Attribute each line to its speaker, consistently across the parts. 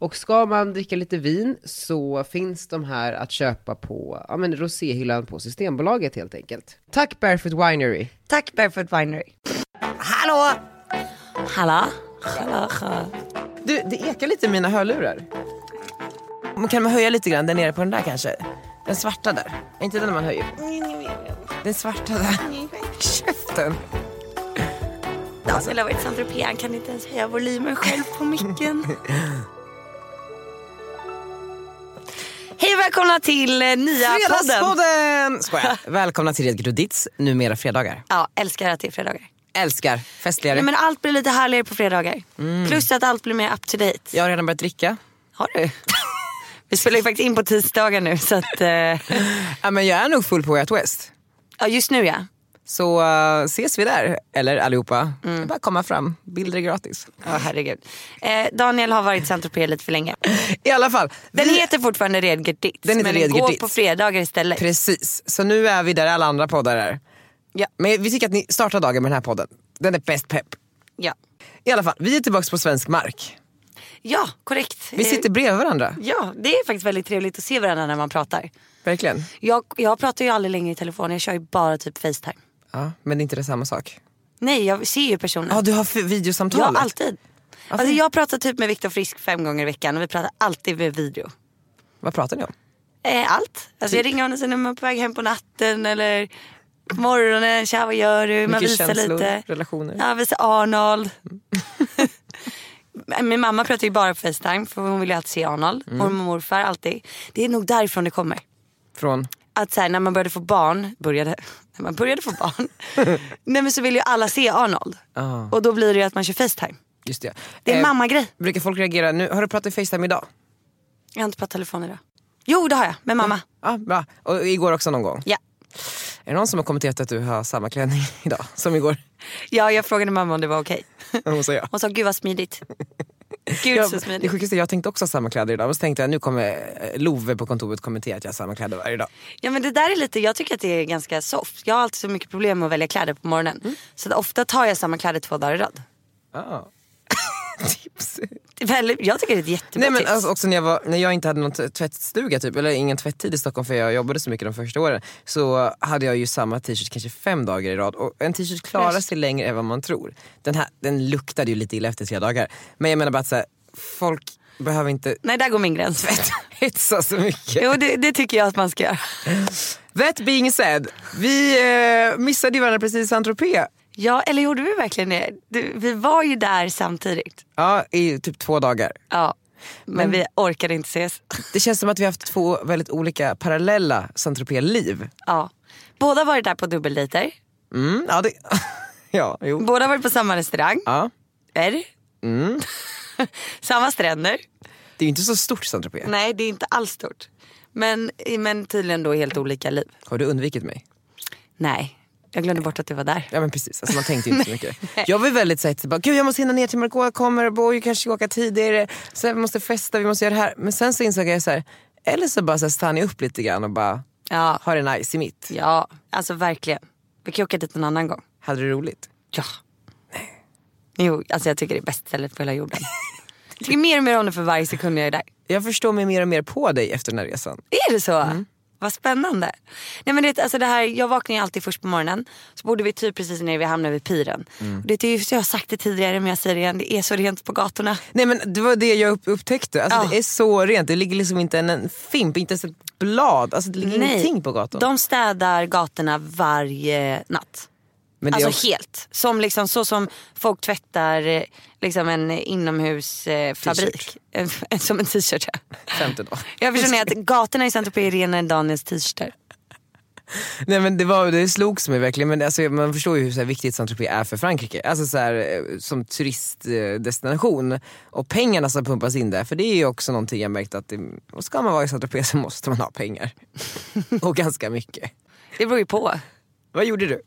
Speaker 1: Och ska man dricka lite vin så finns de här att köpa på ja, men roséhyllan på Systembolaget helt enkelt. Tack Barefoot Winery!
Speaker 2: Tack Barefoot Winery. Hallå! Hallå? Hallå? hallå.
Speaker 3: Du, det ekar lite i mina hörlurar. Men Kan man höja lite grann där nere på den där kanske? Den svarta där. Är inte den man höjer? Den svarta där. Käften.
Speaker 2: Dagen skulle ha varit Saint-Tropez, han kan inte ens höja volymen själv på micken. Hej och välkomna till eh, nya podden.
Speaker 3: Fredagspodden! Skojar. Välkomna till Red Grodits, numera fredagar.
Speaker 2: Ja, älskar att det är fredagar.
Speaker 3: Älskar festligare.
Speaker 2: Nej, men allt blir lite härligare på fredagar. Plus att allt blir mer up to date.
Speaker 3: Jag har redan börjat dricka.
Speaker 2: Har du? Vi spelar ju faktiskt in på tisdagar nu så att, eh,
Speaker 3: Ja, men jag är nog full på Way Out West.
Speaker 2: ja just nu ja.
Speaker 3: Så eh, ses vi där. Eller allihopa.
Speaker 2: Mm.
Speaker 3: Det är bara att komma fram. Bilder är gratis.
Speaker 2: Ja herregud. Eh, Daniel har varit i Saint-Tropez lite för länge.
Speaker 3: I alla fall.
Speaker 2: Den
Speaker 3: vi-
Speaker 2: heter fortfarande Redgerdits
Speaker 3: Den heter
Speaker 2: men den går
Speaker 3: Redgerdits.
Speaker 2: på fredagar istället.
Speaker 3: Precis, så nu är vi där alla andra poddar är.
Speaker 2: Ja.
Speaker 3: Men vi tycker att ni startar dagen med den här podden. Den är bäst pepp.
Speaker 2: ja.
Speaker 3: I alla fall, vi är tillbaka på svensk mark.
Speaker 2: ja, korrekt.
Speaker 3: Vi
Speaker 2: Eh,
Speaker 3: sitter bredvid varandra.
Speaker 2: Ja, det är faktiskt väldigt trevligt att se varandra när man pratar.
Speaker 3: Verkligen.
Speaker 2: Jag, jag pratar ju aldrig längre i telefon, jag kör ju bara typ Facetime.
Speaker 3: Ja, men det är inte det samma sak.
Speaker 2: Nej, jag ser ju personen.
Speaker 3: Ja, du har f-
Speaker 2: ja,
Speaker 3: videosamtalet.
Speaker 2: alltid. Alltså, jag pratar typ med Viktor Frisk fem gånger i veckan och vi pratar alltid med video.
Speaker 3: Vad pratar ni om?
Speaker 2: Eh, allt. Alltså, jag ringer honom sen när man är på väg hem på natten eller på morgonen. Tja vad gör du? Man
Speaker 3: Mycket
Speaker 2: visar
Speaker 3: känslor,
Speaker 2: lite.
Speaker 3: relationer.
Speaker 2: Ja, visar Arnold.
Speaker 3: Mm.
Speaker 2: Min mamma pratar ju bara på Facetime för hon vill ju alltid se Arnold. Mormor och morfar alltid. Det är nog därifrån det kommer.
Speaker 3: Från?
Speaker 2: Att så här, när man började få barn, började, när man började få barn, nej men så vill ju alla se Arnold.
Speaker 3: Ah.
Speaker 2: Och då blir det ju att man kör Facetime.
Speaker 3: Just det.
Speaker 2: Det är en
Speaker 3: Eh,
Speaker 2: mammagrej.
Speaker 3: Brukar folk reagera nu? Har du pratat i Facetime idag?
Speaker 2: Jag har inte pratat telefon idag. Jo det har jag, med mamma.
Speaker 3: Ja, bra. Och igår också någon gång.
Speaker 2: Ja.
Speaker 3: Är det någon som har kommenterat att du har samma klänning idag som igår?
Speaker 2: ja, jag frågade mamma om det var okej.
Speaker 3: Hon sa ja.
Speaker 2: Hon sa gud vad smidigt. Gud
Speaker 3: Jag,
Speaker 2: så
Speaker 3: det
Speaker 2: smidigt.
Speaker 3: sjukaste, jag tänkte också ha samma kläder idag. Men så tänkte jag nu kommer eh, Love på kontoret kommentera att jag har samma kläder varje dag.
Speaker 2: Ja men det där är lite, jag tycker att det är ganska soft. Jag har alltid så mycket problem med att välja kläder på morgonen. Så att ofta tar jag samma kläder två dagar i rad.
Speaker 3: Ah. Tips.
Speaker 2: Det är väldigt, jag tycker det är ett jättebra
Speaker 3: Nej, men
Speaker 2: tips.
Speaker 3: alltså också när jag, var, när jag inte hade någon t- tvättstuga, typ, eller ingen tvätttid i Stockholm för jag jobbade så mycket de första åren. Så hade jag ju samma t-shirt kanske fem dagar i rad. Och en t-shirt klarar sig längre än vad man tror. Den här den luktade ju lite illa efter tre dagar. Men jag menar bara att så här, folk behöver inte
Speaker 2: Nej där går min gräns.
Speaker 3: hetsa så mycket.
Speaker 2: Jo det, det tycker jag att man ska göra.
Speaker 3: That being said, vi eh, missade ju varandra precis i Saint-Tropez.
Speaker 2: Ja eller gjorde vi verkligen det? Du, vi var ju där samtidigt.
Speaker 3: Ja, i typ två dagar.
Speaker 2: Ja. Men, vi orkade inte ses.
Speaker 3: Det känns som att vi har haft två väldigt olika parallella Saint-Tropez-liv.
Speaker 2: Ja. Båda har varit där på dubbeldejter.
Speaker 3: Mm, ja, det... ja, jo.
Speaker 2: Båda har varit på samma restaurang.
Speaker 3: Ja.
Speaker 2: Mm. samma stränder.
Speaker 3: Det är ju inte så stort Saint-Tropez.
Speaker 2: Nej det är inte alls stort. Men, men tydligen då helt olika liv.
Speaker 3: Har du undvikit mig?
Speaker 2: Nej, jag glömde bort att du var där.
Speaker 3: Ja men precis, alltså, man tänkte ju inte så mycket. Jag var ju väldigt såhär, bara, gud jag måste hinna ner till Margot kommer, Boy kanske ska åka tidigare, sen vi måste festa, vi måste göra det här. Men sen så insåg jag så här, eller så bara så här, stannar jag upp lite grann och bara
Speaker 2: Ja,
Speaker 3: har det nice i mitt.
Speaker 2: ja alltså verkligen. Vi kan ju åka dit en annan gång.
Speaker 3: Hade det roligt.
Speaker 2: Ja. Jo, alltså jag tycker det är bäst stället på hela jorden. Jag tycker mer och mer om det för varje sekund jag är där.
Speaker 3: Jag förstår mig mer och mer på dig efter den här resan.
Speaker 2: Är det så? Vad spännande. Nej, men det, alltså det här, jag vaknar ju alltid först på morgonen. Så bodde vi typ precis nere vid hamnen vid piren. Och Det är ju, så jag har sagt det tidigare men jag säger det igen. Det är så rent på gatorna.
Speaker 3: Nej men det var det jag upp- upptäckte, alltså,
Speaker 2: Ja.
Speaker 3: det är så rent. Det ligger liksom inte en, en fimp, inte ens ett blad, alltså, det ligger ingenting på gatan.
Speaker 2: De städar gatorna varje natt.
Speaker 3: Men det är
Speaker 2: Alltså
Speaker 3: också-
Speaker 2: helt. Som liksom, så som folk tvättar eh, liksom en inomhusfabrik.
Speaker 3: T-shirt.
Speaker 2: som en t-shirt. ja.
Speaker 3: Femte dag.
Speaker 2: Jag förstår ni att gatorna i Saint-Tropez är renare än Daniels t-shirtar.
Speaker 3: Nej men det, var, det slogs mig verkligen, men alltså, man förstår ju hur så här, viktigt Saint-Tropez är för Frankrike. Alltså så här, eh, som turistdestination. Och pengarna som pumpas in där, för det är ju också någonting jag märkt att det, och ska man vara i Saint-Tropez så måste man ha pengar. och ganska mycket.
Speaker 2: Det beror ju på.
Speaker 3: Vad gjorde du?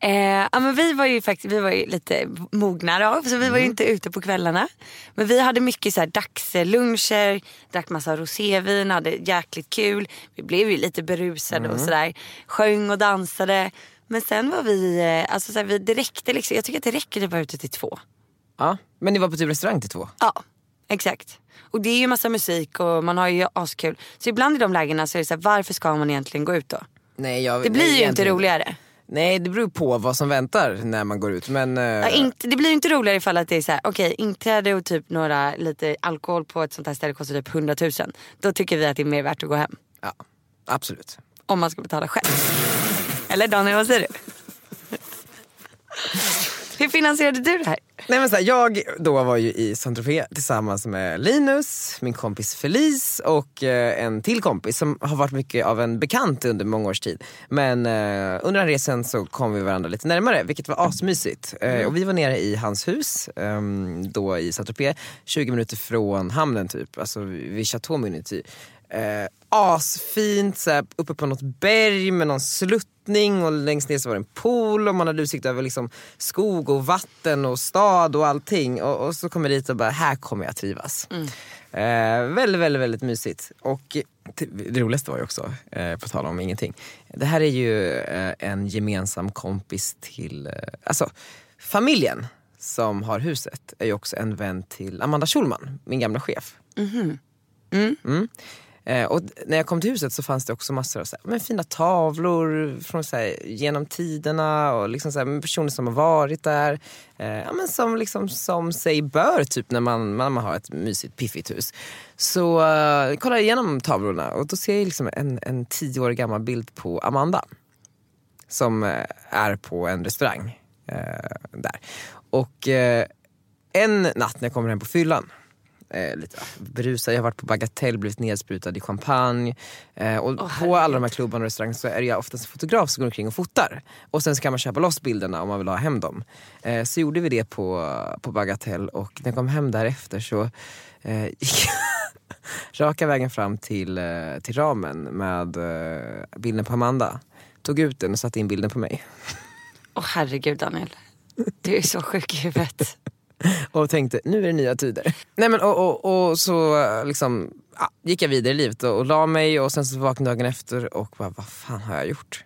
Speaker 2: Eh, ja, men vi var ju faktiskt vi var ju lite mognare av så vi var ju inte ute på kvällarna. Men vi hade mycket så här dagsluncher, drack massa rosévin, hade jäkligt kul. Vi blev ju lite berusade och sådär. Sjöng och dansade. Men sen var vi, eh, alltså så här, vi, det räckte liksom. Jag tycker att det räcker att vara ute till två.
Speaker 3: Ja, men ni var på typ restaurang till två?
Speaker 2: Ja, exakt. Och det är ju massa musik och man har ju askul. Så ibland i de lägena så är det så här, varför ska man egentligen gå ut då?
Speaker 3: Nej, jag,
Speaker 2: Det blir
Speaker 3: nej,
Speaker 2: ju inte
Speaker 3: egentligen-
Speaker 2: roligare.
Speaker 3: Nej det beror på vad som väntar när man går ut men... eh,
Speaker 2: Ja, inte, det blir ju inte roligare ifall att det är så här, okej inträde och typ några lite alkohol på ett sånt här ställe kostar typ 100 000. Då tycker vi att det är mer värt att gå hem.
Speaker 3: ja, absolut.
Speaker 2: Om man ska betala själv. Eller Daniel vad säger du? Hur finansierade du det här?
Speaker 3: Nej, men så här, jag då var ju i Saint-Tropez tillsammans med Linus, min kompis Felice och eh, en till kompis som har varit mycket av en bekant under många års tid. Men eh, under den resan så kom vi varandra lite närmare vilket var asmysigt. Eh, och vi var nere i hans hus ehm, då i Saint-Tropez, 20 minuter från hamnen typ, alltså vid Chateau Minuty. Eh, asfint, så här, uppe på något berg med någon sluttning och längst ner så var det en pool och man hade utsikt över liksom skog och vatten och stad och allting. Och, och så kom jag dit och bara, här kommer jag trivas. Eh, väldigt, väldigt, väldigt mysigt. Och t- det roligaste var ju också, eh, på tal om ingenting, det här är ju eh, en gemensam kompis till, eh, alltså familjen som har huset är ju också en vän till Amanda Schulman, min gamla chef. Eh, och d- när jag kom till huset så fanns det också massor av så här, men fina tavlor från så här, genom tiderna och liksom så här, men personer som har varit där. Eh, ja, men som, liksom, som sig bör typ när man, när man har ett mysigt piffigt hus. Så eh, kollar jag igenom tavlorna och då ser jag liksom en, en tio år gammal bild på Amanda som eh, är på en restaurang eh, där. Och eh, en natt när jag kommer hem på fyllan, eh, lite berusad, jag har varit på Bagatell, blivit nedsprutad i champagne. Eh, och på alla de här klubbarna och restaurangerna så är det jag oftast en fotograf som går omkring och fotar. Och sen så kan man köpa loss bilderna om man vill ha hem dem. Eh, så gjorde vi det på, på Bagatell och när jag kom hem därefter så eh, gick raka vägen fram till, eh, till ramen med eh, bilden på Amanda. Tog ut den och satte in bilden på mig.
Speaker 2: Åh herregud Daniel. Du är så sjuk i huvudet.
Speaker 3: Och tänkte, nu är det nya tider. Nej, men, och, och, och så eh, liksom, ja, gick jag vidare i livet och, och la mig och sen så vaknade jag dagen efter och bara, vad fan har jag gjort?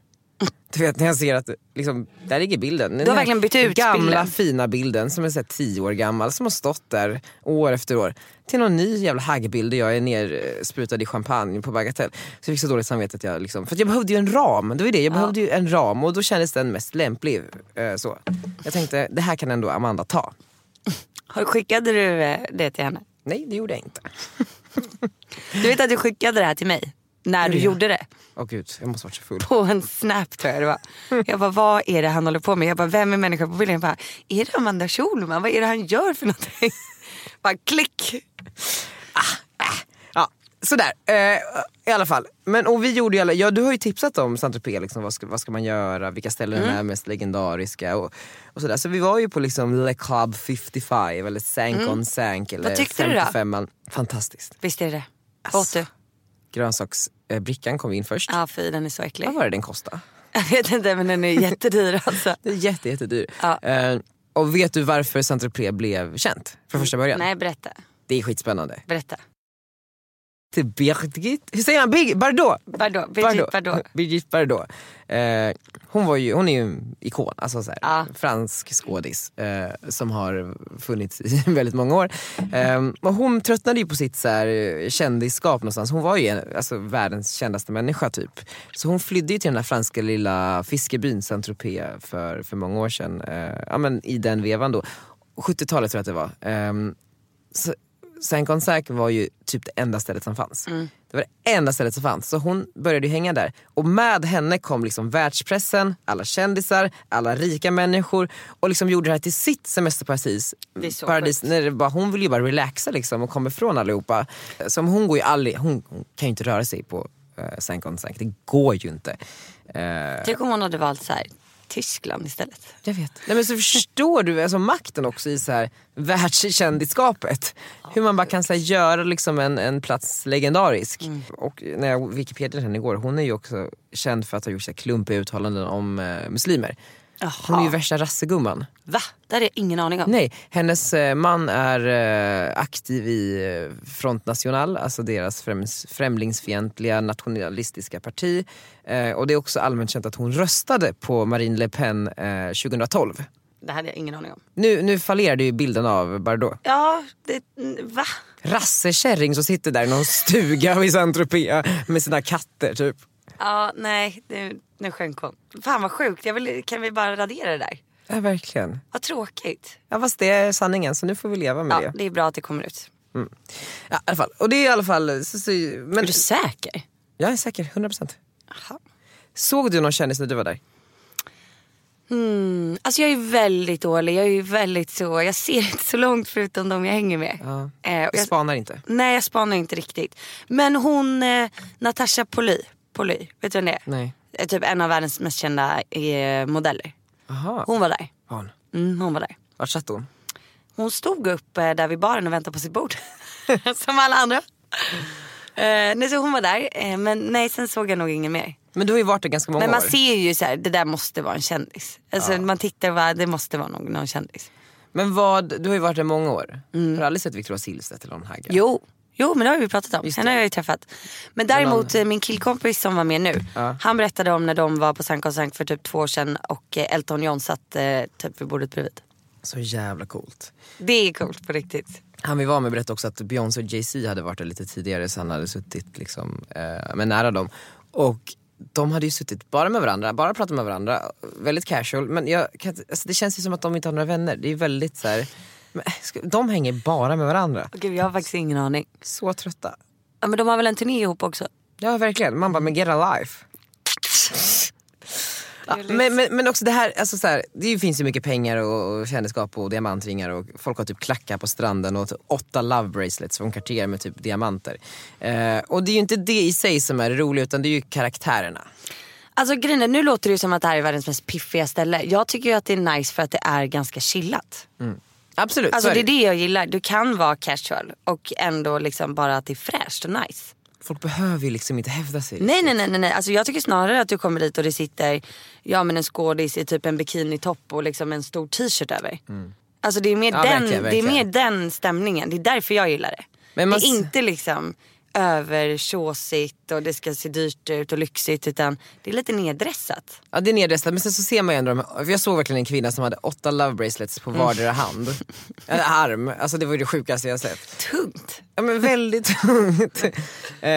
Speaker 3: Du vet när jag ser att, liksom, där ligger bilden. Du
Speaker 2: har verkligen bytt ut
Speaker 3: Gamla
Speaker 2: bilden.
Speaker 3: fina bilden som är så här, tio år gammal som har stått där år efter år. Till någon ny jävla haggbild där jag är nersprutad i champagne på Bagatell. Så jag fick så dåligt samvete att jag liksom, för att jag behövde ju en ram. Det var ju det, jag behövde ju en ram och då kändes den mest lämplig. eh, Så. Jag tänkte, det här kan ändå Amanda ta.
Speaker 2: Har- Skickade du eh, det till henne?
Speaker 3: Nej det gjorde jag inte.
Speaker 2: Du vet att du skickade det här till mig? När du gjorde det?
Speaker 3: Åh gud, jag måste varit så full.
Speaker 2: på en snap tror jag det var. Jag bara, vad är det han håller på med? Jag bara, vem är människan på bilden? Jag bara, är det Amanda Schulman? Vad är det han gör för någonting? Bara klick.
Speaker 3: Ja, sådär. Eh, I alla fall. Men, och vi gjorde ju alla, ja, du har ju tipsat om Saint-Tropez, liksom, vad, ska, vad ska man göra, vilka ställen är mest legendariska och, och sådär. Så vi var ju på liksom Le Club 55 eller Sank on Sank eller
Speaker 2: Vad tyckte du då?
Speaker 3: 55an. Fantastiskt.
Speaker 2: Visst är det det? Åt du?
Speaker 3: Grönsaksbrickan kom in först.
Speaker 2: Ja fy den är så äcklig.
Speaker 3: Vad var det den kostade?
Speaker 2: Jag vet inte men den är jättedyr alltså.
Speaker 3: Det är jätte, jättedyr.
Speaker 2: Ja.
Speaker 3: Eh, och vet du varför Saint-Tropez blev känt från första början?
Speaker 2: Nej berätta.
Speaker 3: Det är skitspännande.
Speaker 2: Berätta.
Speaker 3: Till Birgit, hur säger man? Birgit Bardot!
Speaker 2: Vadå? Birgit vadå?
Speaker 3: Brigitte Bardot. Eh, hon, var ju, hon är ju en ikon, alltså så här,
Speaker 2: Ja.
Speaker 3: fransk skådis eh, som har funnits i väldigt många år. Eh, och hon tröttnade ju på sitt så här, eh, kändisskap någonstans. Hon var ju en, alltså, världens kändaste människa typ. Så hon flydde ju till den där franska lilla fiskebyn Saint-Tropez för, för många år sedan. Eh, ja, men I den vevan då. 70-talet tror jag att det var. Ehm, så- Sankonsäk var ju typ det enda stället som fanns.
Speaker 2: Mm.
Speaker 3: Det var det enda stället som fanns. Så hon började ju hänga där. Och med henne kom liksom världspressen, alla kändisar, alla rika människor och liksom gjorde det här till sitt semesterparadis.
Speaker 2: Det är så
Speaker 3: paradis,
Speaker 2: sjukt.
Speaker 3: när det bara, hon vill ju bara relaxa liksom och komma ifrån allihopa. Som hon går ju aldrig, hon, hon kan ju inte röra sig på eh, sänka och inte sänka. Det går ju inte. Eh,
Speaker 2: Tänk om hon hade valt så här, Tyskland istället.
Speaker 3: jag vet. Nej, men så förstår du alltså, makten också i så här, världskändisskapet. Hur man bara kan så här, göra liksom, en, en plats legendarisk. Och när jag Wikipedia henne igår, hon är ju också känd för att ha gjort så här, klumpiga uttalanden om eh, muslimer. Hon är ju värsta rassegumman.
Speaker 2: Va? Det hade jag ingen aning om.
Speaker 3: Nej, hennes eh, man är eh, aktiv i eh, Front National, alltså deras främs- främlingsfientliga nationalistiska parti. Eh, Och det är också allmänt känt att hon röstade på Marine Le Pen eh, 2012.
Speaker 2: Det hade jag ingen aning om.
Speaker 3: Nu, nu fallerade ju bilden av Bardot.
Speaker 2: Ja, det, va?
Speaker 3: Rassekärring som sitter där i någon stuga i Saint-Tropez med sina katter typ.
Speaker 2: Ja, nej, nu, nu sjönk hon. Fan vad sjukt, jag vill, kan vi bara radera det där?
Speaker 3: Ja verkligen.
Speaker 2: Vad tråkigt.
Speaker 3: Ja fast det är sanningen så nu får vi leva med
Speaker 2: Ja,
Speaker 3: det.
Speaker 2: det är bra att det kommer ut.
Speaker 3: Ja, i alla fall. Och det är i alla fall... Så, så, men,
Speaker 2: Är du säker?
Speaker 3: jag är säker, 100%.
Speaker 2: Aha.
Speaker 3: Såg du någon kändis när du var där?
Speaker 2: Mm, alltså jag är väldigt dålig, jag är väldigt så, jag ser inte så långt förutom de jag hänger med.
Speaker 3: Ja.
Speaker 2: Eh, och
Speaker 3: Vi
Speaker 2: jag,
Speaker 3: spanar inte.
Speaker 2: nej jag spanar inte riktigt. Men hon, eh, Natasha Poly, Poly, vet du vem det är?
Speaker 3: Nej.
Speaker 2: Eh, Typ en av världens mest kända eh, modeller.
Speaker 3: Aha.
Speaker 2: Hon var där.
Speaker 3: Hon.
Speaker 2: Mm, hon var där.
Speaker 3: Vart satt hon?
Speaker 2: Hon stod upp eh, där vid baren och väntade på sitt bord. Som alla andra. Eh, nej, så hon var där. Eh, men nej, sen såg jag nog ingen mer.
Speaker 3: Men du har ju varit där ganska många
Speaker 2: Men man
Speaker 3: år.
Speaker 2: ser ju så här, det där måste vara en kändis. Alltså, Man tittar och bara, det måste vara någon, någon kändis.
Speaker 3: Men vad, du har ju varit där många år. Har du aldrig sett Victoria Silvstedt eller någon hagga?
Speaker 2: Mm. Jo. Jo men det har vi pratat om,
Speaker 3: Just
Speaker 2: henne har jag ju träffat. Men däremot eh, min killkompis som var med nu, han berättade om när de var på Sankt Sank för typ två år sedan och eh, Elton John satt eh, typ vid bordet bredvid.
Speaker 3: Så jävla coolt.
Speaker 2: Det är coolt på riktigt.
Speaker 3: Han vi var med berättade också att Beyoncé och Jay-Z hade varit där lite tidigare så han hade suttit liksom, eh, men nära dem. Och de hade ju suttit bara med varandra, bara pratat med varandra. Väldigt casual. Men jag, kan inte- alltså det känns ju som att de inte har några vänner. Det är ju väldigt så här, men, eh, ska- de hänger bara med varandra.
Speaker 2: Och Gud jag har faktiskt ingen aning.
Speaker 3: Så trötta.
Speaker 2: Ja, men de har väl en turné ihop också?
Speaker 3: Ja verkligen, man bara men get a life. Ja, men, men, men också det här, alltså så här det finns ju mycket pengar och, och kändisskap och diamantringar och folk har typ klackar på stranden och typ åtta love bracelets från Cartier med typ diamanter. Eh, och det är ju inte det i sig som är det roliga utan det är ju karaktärerna.
Speaker 2: Alltså grejen är, nu låter det ju som att det här är världens mest piffiga ställe. Jag tycker ju att det är nice för att det är ganska chillat.
Speaker 3: Absolut,
Speaker 2: Alltså
Speaker 3: så är
Speaker 2: det är det jag gillar. Du kan vara casual och ändå liksom bara att det är fräscht och nice.
Speaker 3: Folk behöver ju liksom inte hävda sig.
Speaker 2: Nej nej nej nej, nej. Alltså jag tycker snarare att du kommer dit och det sitter ja men en skådis i typ en bikinitopp och liksom en stor t-shirt över. Alltså det är, mer
Speaker 3: Mm. Ja,
Speaker 2: den,
Speaker 3: verkligen,
Speaker 2: det är mer
Speaker 3: verkligen.
Speaker 2: den stämningen. Det är därför jag gillar det.
Speaker 3: Men man
Speaker 2: Det är
Speaker 3: s-
Speaker 2: inte liksom övertjåsigt och det ska se dyrt ut och lyxigt utan det är lite neddressat.
Speaker 3: Ja det är nedröstat men sen så ser man ju ändå de här, för jag såg verkligen en kvinna som hade åtta love bracelets på vardera hand. Eller arm, alltså det var ju det sjukaste jag sett.
Speaker 2: tungt.
Speaker 3: Ja men väldigt tungt. Eh,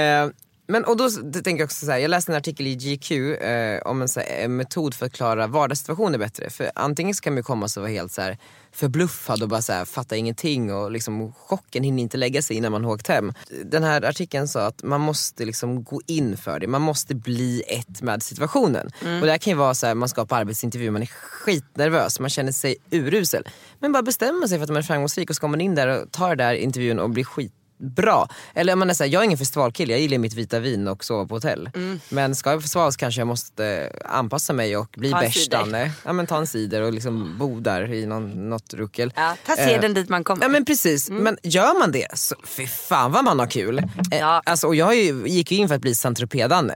Speaker 3: men och då s- det tänker jag också så här, jag läste en artikel i GQ eh, om en, så här, en metod för att klara vardagssituationer bättre. För antingen så kan man ju komma och så vara helt så här förbluffad och bara så här, fatta ingenting och liksom chocken hinner inte lägga sig innan man har åkt hem. Den här artikeln sa att man måste liksom gå in för det, man måste bli ett med situationen.
Speaker 2: Mm.
Speaker 3: Och det här kan ju vara så här, man ska på arbetsintervju, man är skitnervös, man känner sig urusel. Men bara bestämma sig för att man är framgångsrik och så kommer man in där och tar den där intervjun och blir skit bra. Eller om man är såhär, jag är ingen festivalkille, jag gillar mitt vita vin och sova på hotell.
Speaker 2: Mm.
Speaker 3: Men ska jag på festival så kanske jag måste eh, anpassa mig och bli
Speaker 2: Ta en
Speaker 3: bärstan. Ja men ta en cider och liksom bo där i någon, något ruckel.
Speaker 2: Ja, ta
Speaker 3: Eh,
Speaker 2: seden dit man kommer.
Speaker 3: Ja men precis,
Speaker 2: Mm.
Speaker 3: men gör man det så fy fan vad man har kul. Eh,
Speaker 2: Ja. Mhm.
Speaker 3: Alltså, och jag är ju, gick ju in för att bli Alltså, Saint Tropez-Danne.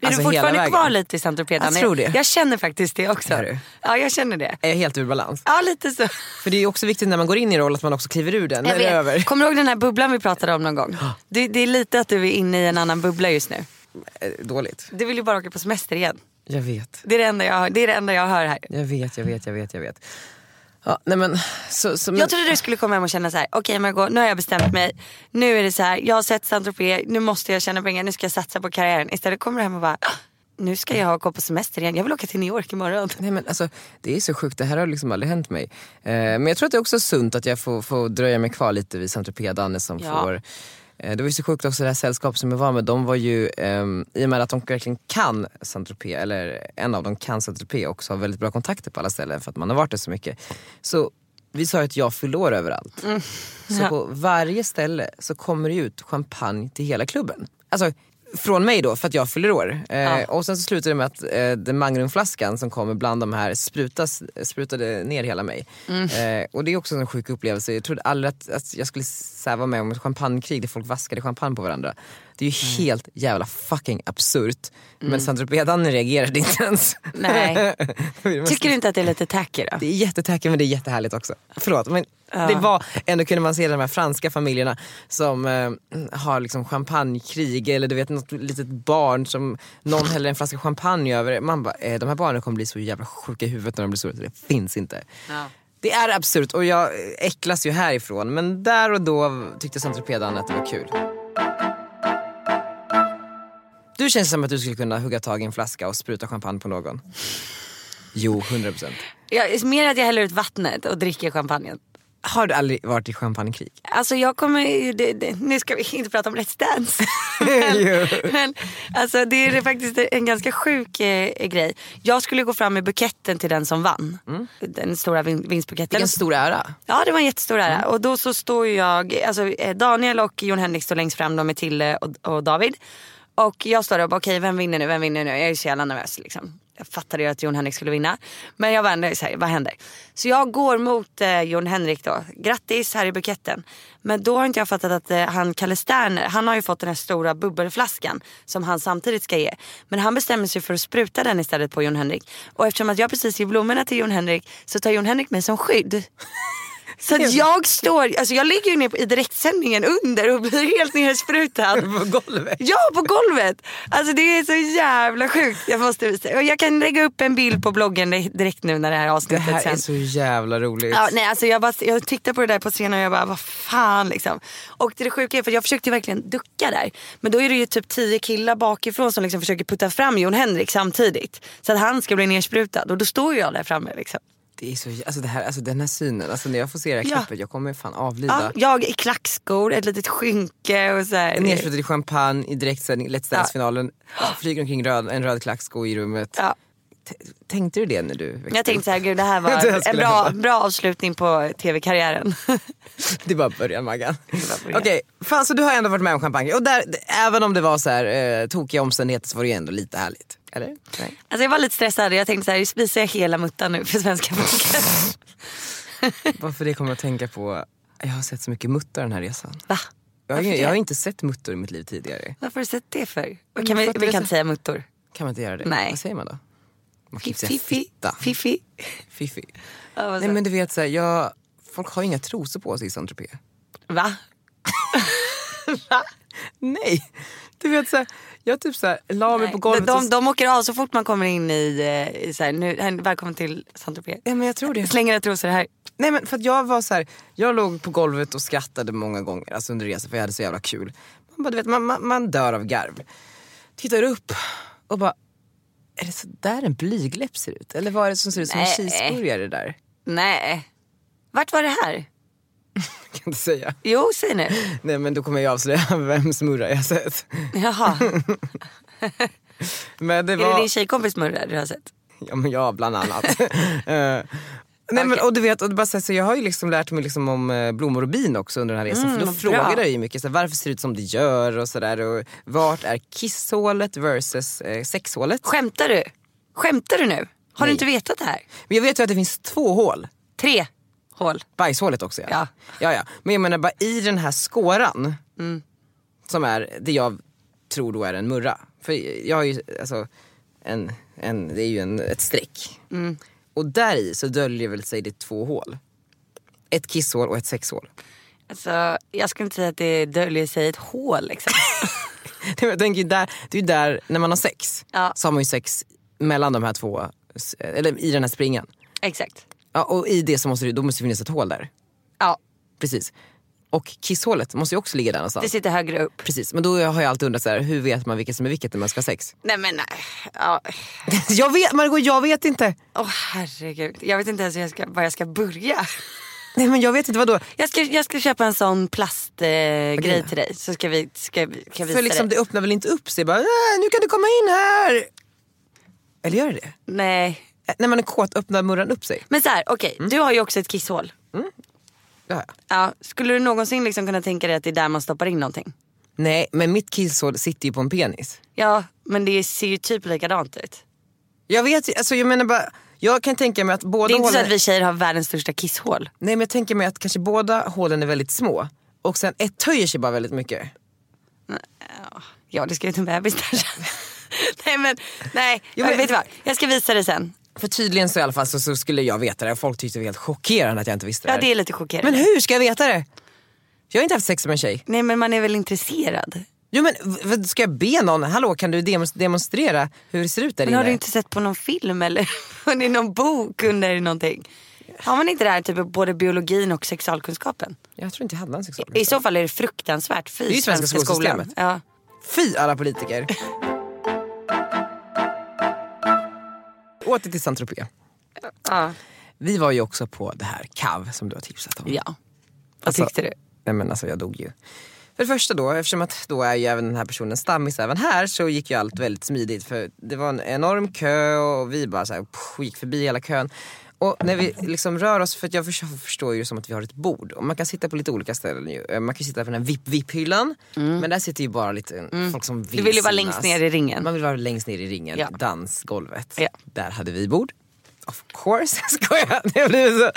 Speaker 2: är du fortfarande kvar lite i Saint Tropez?
Speaker 3: Jag tror det.
Speaker 2: Jag känner faktiskt det också.
Speaker 3: Är du?
Speaker 2: Ja, jag känner det.
Speaker 3: Är jag helt ur balans?
Speaker 2: Ja, lite så.
Speaker 3: För det är ju också viktigt när man går in i roll att man också kliver ur den.
Speaker 2: Jag
Speaker 3: eller över.
Speaker 2: vet. Kommer du ihåg den här bubblan vi pratade om någon gång? Det, det är lite att du är inne i en annan bubbla just nu.
Speaker 3: Eh, Dåligt.
Speaker 2: Du vill ju bara åka på semester igen.
Speaker 3: Jag vet.
Speaker 2: Det är det enda jag, hör- det är det enda jag hör här.
Speaker 3: Jag vet, jag vet, jag vet, jag vet. Ja, nej men, så, så, men,
Speaker 2: Jag trodde du skulle komma hem och känna så här, okej men jag går, nu har jag bestämt mig. Nu är det så här, jag har sett Saint Tropez, nu måste jag tjäna pengar, nu ska jag satsa på karriären. Istället kommer du hem och bara, "Ah, nu ska jag gå på semester igen, jag vill åka till New York imorgon.
Speaker 3: Nej men alltså, det är så sjukt, det här har liksom aldrig hänt mig. Eh, men jag tror att det är också sunt att jag får, får dröja mig kvar lite vid Saint Danne som
Speaker 2: Ja.
Speaker 3: får eh, det var ju så sjukt också det här sällskapet som jag var med, de var ju, ehm, i och med att de verkligen kan saint eller en av dem kan saint också har väldigt bra kontakter på alla ställen för att man har varit där så mycket. Så vi sa ju att jag fyllde år överallt. Så på varje ställe så kommer det ut champagne till hela klubben. Alltså från mig då för att jag fyller år. Eh, Och sen så slutar det med att eh, den mangrumflaskan som kommer bland de här sprutas, sprutade ner hela mig.
Speaker 2: Mm.
Speaker 3: Eh, och det är också en sjuk upplevelse. Jag trodde aldrig att, att jag skulle så här vara med om ett champagnekrig där folk vaskade champagne på varandra. Det är ju
Speaker 2: Mm.
Speaker 3: helt jävla fucking absurt. Men Saint Danny reagerade inte ens.
Speaker 2: Nej.
Speaker 3: Det var-
Speaker 2: Tycker du inte att det är lite tacky då?
Speaker 3: det är jättetacky men det är jättehärligt också. Förlåt men det var, ändå kunde man se de här franska familjerna som eh, har liksom champagnekrig eller du vet något litet barn som någon häller en flaska champagne över. Man bara, eh, de här barnen kommer bli så jävla sjuka i huvudet när de blir stora så det finns inte.
Speaker 2: Ja.
Speaker 3: Det är absurt och jag äcklas ju härifrån men där och då tyckte centripedan att det var kul. Du känns som att du skulle kunna hugga tag i en flaska och spruta champagne på någon. Jo, 100%.
Speaker 2: Jag, mer att jag häller ut vattnet och dricker champagnen.
Speaker 3: Har du aldrig varit i champagnekrig?
Speaker 2: Alltså jag kommer, det, det, nu ska vi inte prata om Let's Dance. men, men alltså det är faktiskt en ganska sjuk eh, grej. Jag skulle gå fram med buketten till den som vann. Den stora vin, vinstbuketten.
Speaker 3: Vilken stor ära.
Speaker 2: Ja det var en jättestor ära. Och då så står ju jag, alltså eh, Daniel och Jon Henrik står längst fram, de är Tille och, och David. Och jag står där och bara okej vem vinner nu, vem vinner nu? Jag är ju så jävla nervös liksom. Jag fattade ju att Jon Henrik skulle vinna. Men jag var ändå såhär, vad händer? Så jag går mot eh, Jon Henrik då. Grattis här i buketten. Men då har inte jag fattat att eh, han Kalle Sterner, han har ju fått den här stora bubbelflaskan som han samtidigt ska ge. Men han bestämmer sig för att spruta den istället på Jon Henrik. Och eftersom att jag precis ger blommorna till Jon Henrik så tar Jon Henrik mig som skydd. Så att jag står, alltså jag ligger ju ner på- i direktsändningen under och blir helt nersprutad.
Speaker 3: På golvet.
Speaker 2: Ja, på golvet! Alltså det är så jävla sjukt. Jag måste visa. Och jag kan lägga upp en bild på bloggen di- direkt nu när det här
Speaker 3: Det
Speaker 2: avsnittet
Speaker 3: här
Speaker 2: sen.
Speaker 3: är så jävla roligt.
Speaker 2: Ja, nej, alltså jag, bara, jag tittade på det där på scenen och jag bara, vad fan liksom. Och det sjuka är för jag försökte ju verkligen ducka där. Men då är det ju typ tio killar bakifrån som liksom försöker putta fram Jon Henrik samtidigt. Så att han ska bli nersprutad. Och då står ju jag där framme liksom.
Speaker 3: det är så, alltså, det här, alltså, den här synen, alltså, när jag får se det här
Speaker 2: Ja.
Speaker 3: klippet jag kommer fan avlida.
Speaker 2: Ja, jag i klackskor, ett litet skynke och så här.
Speaker 3: Nersprutad i champagne i direktsändning, Let's Dance-finalen. Flyger omkring röd, en röd klacksko i rummet.
Speaker 2: Ja.
Speaker 3: T- Tänkte du det när du växte
Speaker 2: Jag tänkte
Speaker 3: upp?
Speaker 2: så här, gud det här
Speaker 3: Det här
Speaker 2: var en
Speaker 3: skulle
Speaker 2: bra,
Speaker 3: hända.
Speaker 2: bra avslutning på tv-karriären.
Speaker 3: Det är bara början Maggan.
Speaker 2: bara
Speaker 3: Okej,
Speaker 2: början.
Speaker 3: fan så du har ändå varit med om champagne. Och där, d- även om det var så här, eh, tokiga omständigheter så var det ju ändå lite härligt. Eller? Nej.
Speaker 2: Alltså jag var lite stressad, jag tänkte så här, spisar jag hela muttan nu för svenska folket?
Speaker 3: Varför det kommer jag att tänka på, jag har sett så mycket muttar den här resan.
Speaker 2: Va?
Speaker 3: Jag har,
Speaker 2: Varför
Speaker 3: ingen,
Speaker 2: det?
Speaker 3: jag har inte sett muttor i mitt liv tidigare.
Speaker 2: Varför har du sett det för? Och kan vi,
Speaker 3: för att Mm,
Speaker 2: vi
Speaker 3: det är
Speaker 2: kan
Speaker 3: så-
Speaker 2: inte säga muttor.
Speaker 3: Kan man inte göra det?
Speaker 2: Nej.
Speaker 3: Vad säger man då? Man kan inte säga
Speaker 2: Fiffi.
Speaker 3: fitta.
Speaker 2: Fiffi.
Speaker 3: Fiffi.
Speaker 2: Ja, vad
Speaker 3: Nej
Speaker 2: så-
Speaker 3: men du vet såhär, jag, folk har ju inga trosor på sig i Saint-Tropez.
Speaker 2: Va?
Speaker 3: Nej! Du vet såhär, jag typ såhär la mig
Speaker 2: Nej.
Speaker 3: på golvet
Speaker 2: de,
Speaker 3: och...
Speaker 2: de åker av så fort man kommer in i, eh, i så här, nu, här, välkommen till Saint-Tropez.
Speaker 3: Nej men jag tror det.
Speaker 2: Slänger era trosor här.
Speaker 3: Nej men för att jag var så här, jag låg på golvet och skrattade många gånger alltså under resan för jag hade så jävla kul. Man, bara, du vet, man, man, man dör av garv. Tittar upp och bara, är det så där en blygläpp ser ut? Eller vad är det som ser ut som en
Speaker 2: Nej.
Speaker 3: cheeseburgare där?
Speaker 2: Nej. Vart var det här?
Speaker 3: Jag kan inte säga.
Speaker 2: Jo, säg nu.
Speaker 3: Nej men då kommer jag avslöja vems murra jag sett.
Speaker 2: Jaha,
Speaker 3: Men det
Speaker 2: är det
Speaker 3: var...
Speaker 2: din tjejkompis Murra du har sett?
Speaker 3: Ja, men jag bland annat. Eh, nej, men, och du vet, och det är bara så, här, så jag har ju liksom lärt mig liksom om eh, blommor och bin också under den här resan. för då
Speaker 2: Mm, vad
Speaker 3: frågade
Speaker 2: bra.
Speaker 3: jag ju mycket så här, varför ser det ut som det gör och sådär. Vart är kisshålet versus eh, sexhålet?
Speaker 2: Skämtar du? Skämtar du nu? Har
Speaker 3: Nej.
Speaker 2: du inte vetat det här?
Speaker 3: Men jag vet ju att det finns två hål.
Speaker 2: Tre hål.
Speaker 3: Bajshålet också
Speaker 2: Ja.
Speaker 3: ja, ja. Men jag menar bara i den här skåran.
Speaker 2: Mm.
Speaker 3: Som är det jag tror då är en murra. För jag har ju alltså en, en, det är ju en, ett streck.
Speaker 2: Mm.
Speaker 3: Och där i så döljer väl sig det två hål. Ett kisshål och ett sexhål.
Speaker 2: Alltså, jag skulle inte säga att det döljer sig ett hål liksom.
Speaker 3: Nej, men jag tänker ju där, det är ju där, när man har sex
Speaker 2: Ja.
Speaker 3: så har man ju sex mellan de här två, eller i den här springan.
Speaker 2: Exakt.
Speaker 3: Ja, och i det så måste det, då måste det finnas ett hål där.
Speaker 2: Ja,
Speaker 3: Precis. Och kisshålet måste ju också ligga där någonstans.
Speaker 2: det sitter högre upp.
Speaker 3: Precis, men då har jag alltid undrat så här, hur vet man vilket som är vilket när man ska ha sex?
Speaker 2: Nej men nej. Ja.
Speaker 3: Jag vet, Margot, jag vet inte!
Speaker 2: Åh herregud. Jag vet inte ens hur jag ska, var jag ska börja.
Speaker 3: Nej men jag vet inte, vadå?
Speaker 2: Jag ska, jag ska köpa en sån plastgrej eh,
Speaker 3: Okej.
Speaker 2: grej till dig så ska vi ska, vi- ska jag visa
Speaker 3: För liksom
Speaker 2: dig.
Speaker 3: det öppnar väl inte upp sig? Bara, "Äh, nu kan du komma in här! Eller gör det det?
Speaker 2: Nej.
Speaker 3: Äh, När man är kåt öppnar murran upp sig.
Speaker 2: Men så här, okej. Du har ju också ett kisshål.
Speaker 3: Det har jag.
Speaker 2: Ja, skulle du någonsin liksom kunna tänka dig att det är där man stoppar in någonting?
Speaker 3: Nej, men mitt killsår sitter ju på en penis.
Speaker 2: Ja, men det ser ju typ likadant ut.
Speaker 3: Jag vet ju- alltså jag menar bara, jag kan tänka mig att båda
Speaker 2: Det är inte så
Speaker 3: hålen...
Speaker 2: att vi tjejer har världens största kisshål.
Speaker 3: Nej men jag tänker mig att kanske båda hålen är väldigt små. Och sen ett höjer sig bara väldigt mycket.
Speaker 2: Ja, det ska ju till en bebis där. nej men, nej.
Speaker 3: Jo, men-
Speaker 2: Vet du vad? Jag ska visa det sen.
Speaker 3: För tydligen så i alla fall så, så skulle jag veta det. Folk tyckte det var helt chockerande att jag inte visste det,
Speaker 2: Ja,
Speaker 3: här.
Speaker 2: det är lite chockerande.
Speaker 3: Men hur ska jag veta det? Jag har inte haft sex med en tjej.
Speaker 2: Nej men man är väl intresserad?
Speaker 3: Jo men v- v- ska jag be någon, hallå kan du demos- demonstrera hur det ser ut där
Speaker 2: Men
Speaker 3: inne?
Speaker 2: har du inte sett på någon film eller under någon bok under någonting? Har man inte det här typ av både biologin och sexualkunskapen?
Speaker 3: Jag tror inte jag hade en sexual.
Speaker 2: I så fall är det fruktansvärt. Fy,
Speaker 3: är ju svenska skolsystemet.
Speaker 2: skolan. Ja.
Speaker 3: Fy alla politiker. Åter till saint -Tropez. Mm.
Speaker 2: Ja.
Speaker 3: Vi var ju också på det här CAV som du har tipsat om.
Speaker 2: ja. Vad
Speaker 3: Alltså-
Speaker 2: tyckte du?
Speaker 3: Nej men alltså jag dog ju. För det första då, eftersom att då är ju även den här personen stammis även här så gick ju allt väldigt smidigt för det var en enorm kö och vi bara så här, pff, gick förbi hela kön. Och när vi liksom rör oss, för att jag förs- förstår ju som att vi har ett bord och man kan sitta på lite olika ställen ju. Eh, Man kan ju sitta på den här VIP-VIP-hyllan men där sitter ju bara lite eh, folk som vill
Speaker 2: Mm. Du vill ju vara
Speaker 3: synas.
Speaker 2: längst ner i ringen.
Speaker 3: Man vill vara längst ner i ringen,
Speaker 2: Ja.
Speaker 3: dansgolvet.
Speaker 2: Ja.
Speaker 3: Där hade vi bord. Of course, skojar. Det blev så...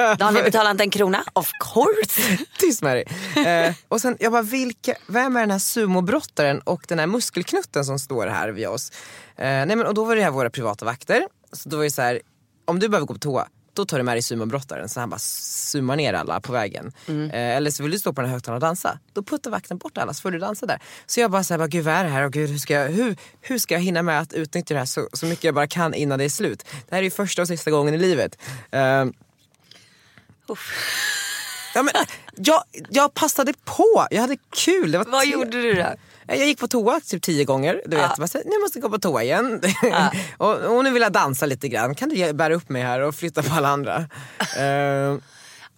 Speaker 3: Ja.
Speaker 2: Daniel betalar inte en krona. Of course.
Speaker 3: Tyst med dig. Eh, och sen jag bara, vilka, vem är den här sumobrottaren och den här muskelknutten som står här vid oss? Eh, nej men, och då var det här våra privata vakter. Så då var det så här, om du behöver gå på toa, då tar du med dig sumobrottaren. Så han bara summar ner alla på vägen. Eh, eller så vill du stå på den här högtalaren och dansa. Då puttar vakten bort alla så får du dansa där. Så jag bara så här, bara, gud vad är det här? Och gud, hur, ska jag, hur, hur ska jag hinna med att utnyttja det här så, så mycket jag bara kan innan det är slut? Det här är ju första och sista gången i livet. Eh, Ja, men, jag, jag passade på, jag hade kul. Det var
Speaker 2: Vad
Speaker 3: tre-
Speaker 2: gjorde du då?
Speaker 3: Jag gick på toa typ tio gånger. Du vet, bara, så här, nu måste jag gå på toa igen. och, och nu vill jag dansa lite grann. Kan du ge- bära upp mig här och flytta på alla andra? Eh,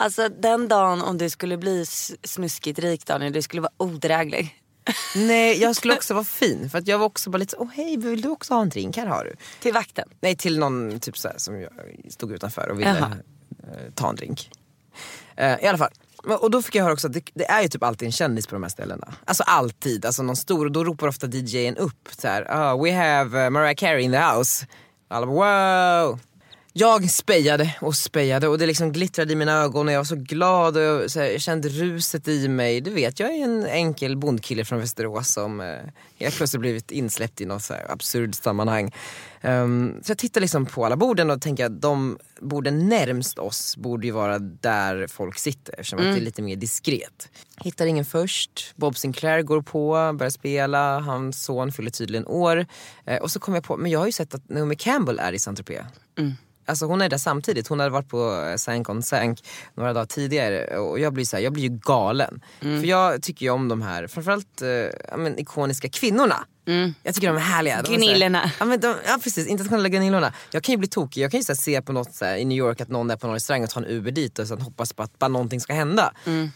Speaker 2: Alltså den dagen om du skulle bli s- snuskigt rik Daniel, du skulle vara odräglig.
Speaker 3: nej, jag skulle också vara fin. För att jag var också bara lite så, åh hej, vill du också ha en drink? Här har du.
Speaker 2: Till vakten.
Speaker 3: Nej, till någon typ så här, som jag stod utanför och ville
Speaker 2: Jaha.
Speaker 3: eh, ta en drink. Eh, I alla fall. Och då fick jag höra också att det, det är ju typ alltid en kändis på de här ställena. Alltså alltid, alltså någon stor. Och då ropar ofta DJn upp så här, "Ah, we have eh, Mariah Carey in the house. Alla bara, wow. Jag spejade och spejade och det liksom glittrade i mina ögon och jag var så glad och jag, så här, jag kände ruset i mig. Du vet, jag är en enkel bondkille från Västerås som eh, helt plötsligt blivit insläppt i något så här absurd sammanhang. Ehm, så jag tittar liksom på alla borden och tänker att de borden närmst oss borde ju vara där folk sitter eftersom att det är lite mer diskret. Hittar ingen först, Bob Sinclair går på, börjar spela, hans son fyller tydligen år. Eh, och så kom jag på, men jag har ju sett att Naomi Campbell är i Saint-Tropez. Alltså hon är där samtidigt. Hon hade varit på eh, Sank on Sank några dagar tidigare och jag blir, så här, jag blir ju galen. För jag tycker ju om de här, framförallt eh, ja, men, ikoniska kvinnorna. Jag tycker de är härliga. De är så här-
Speaker 2: Gnillorna.
Speaker 3: Ja, men de, ja precis, internationella gnillorna. Jag kan ju bli tokig, jag kan ju så här, se på något så här, i New York att någon är på någon restaurang och tar en Uber dit och sen hoppas på att bara någonting ska hända.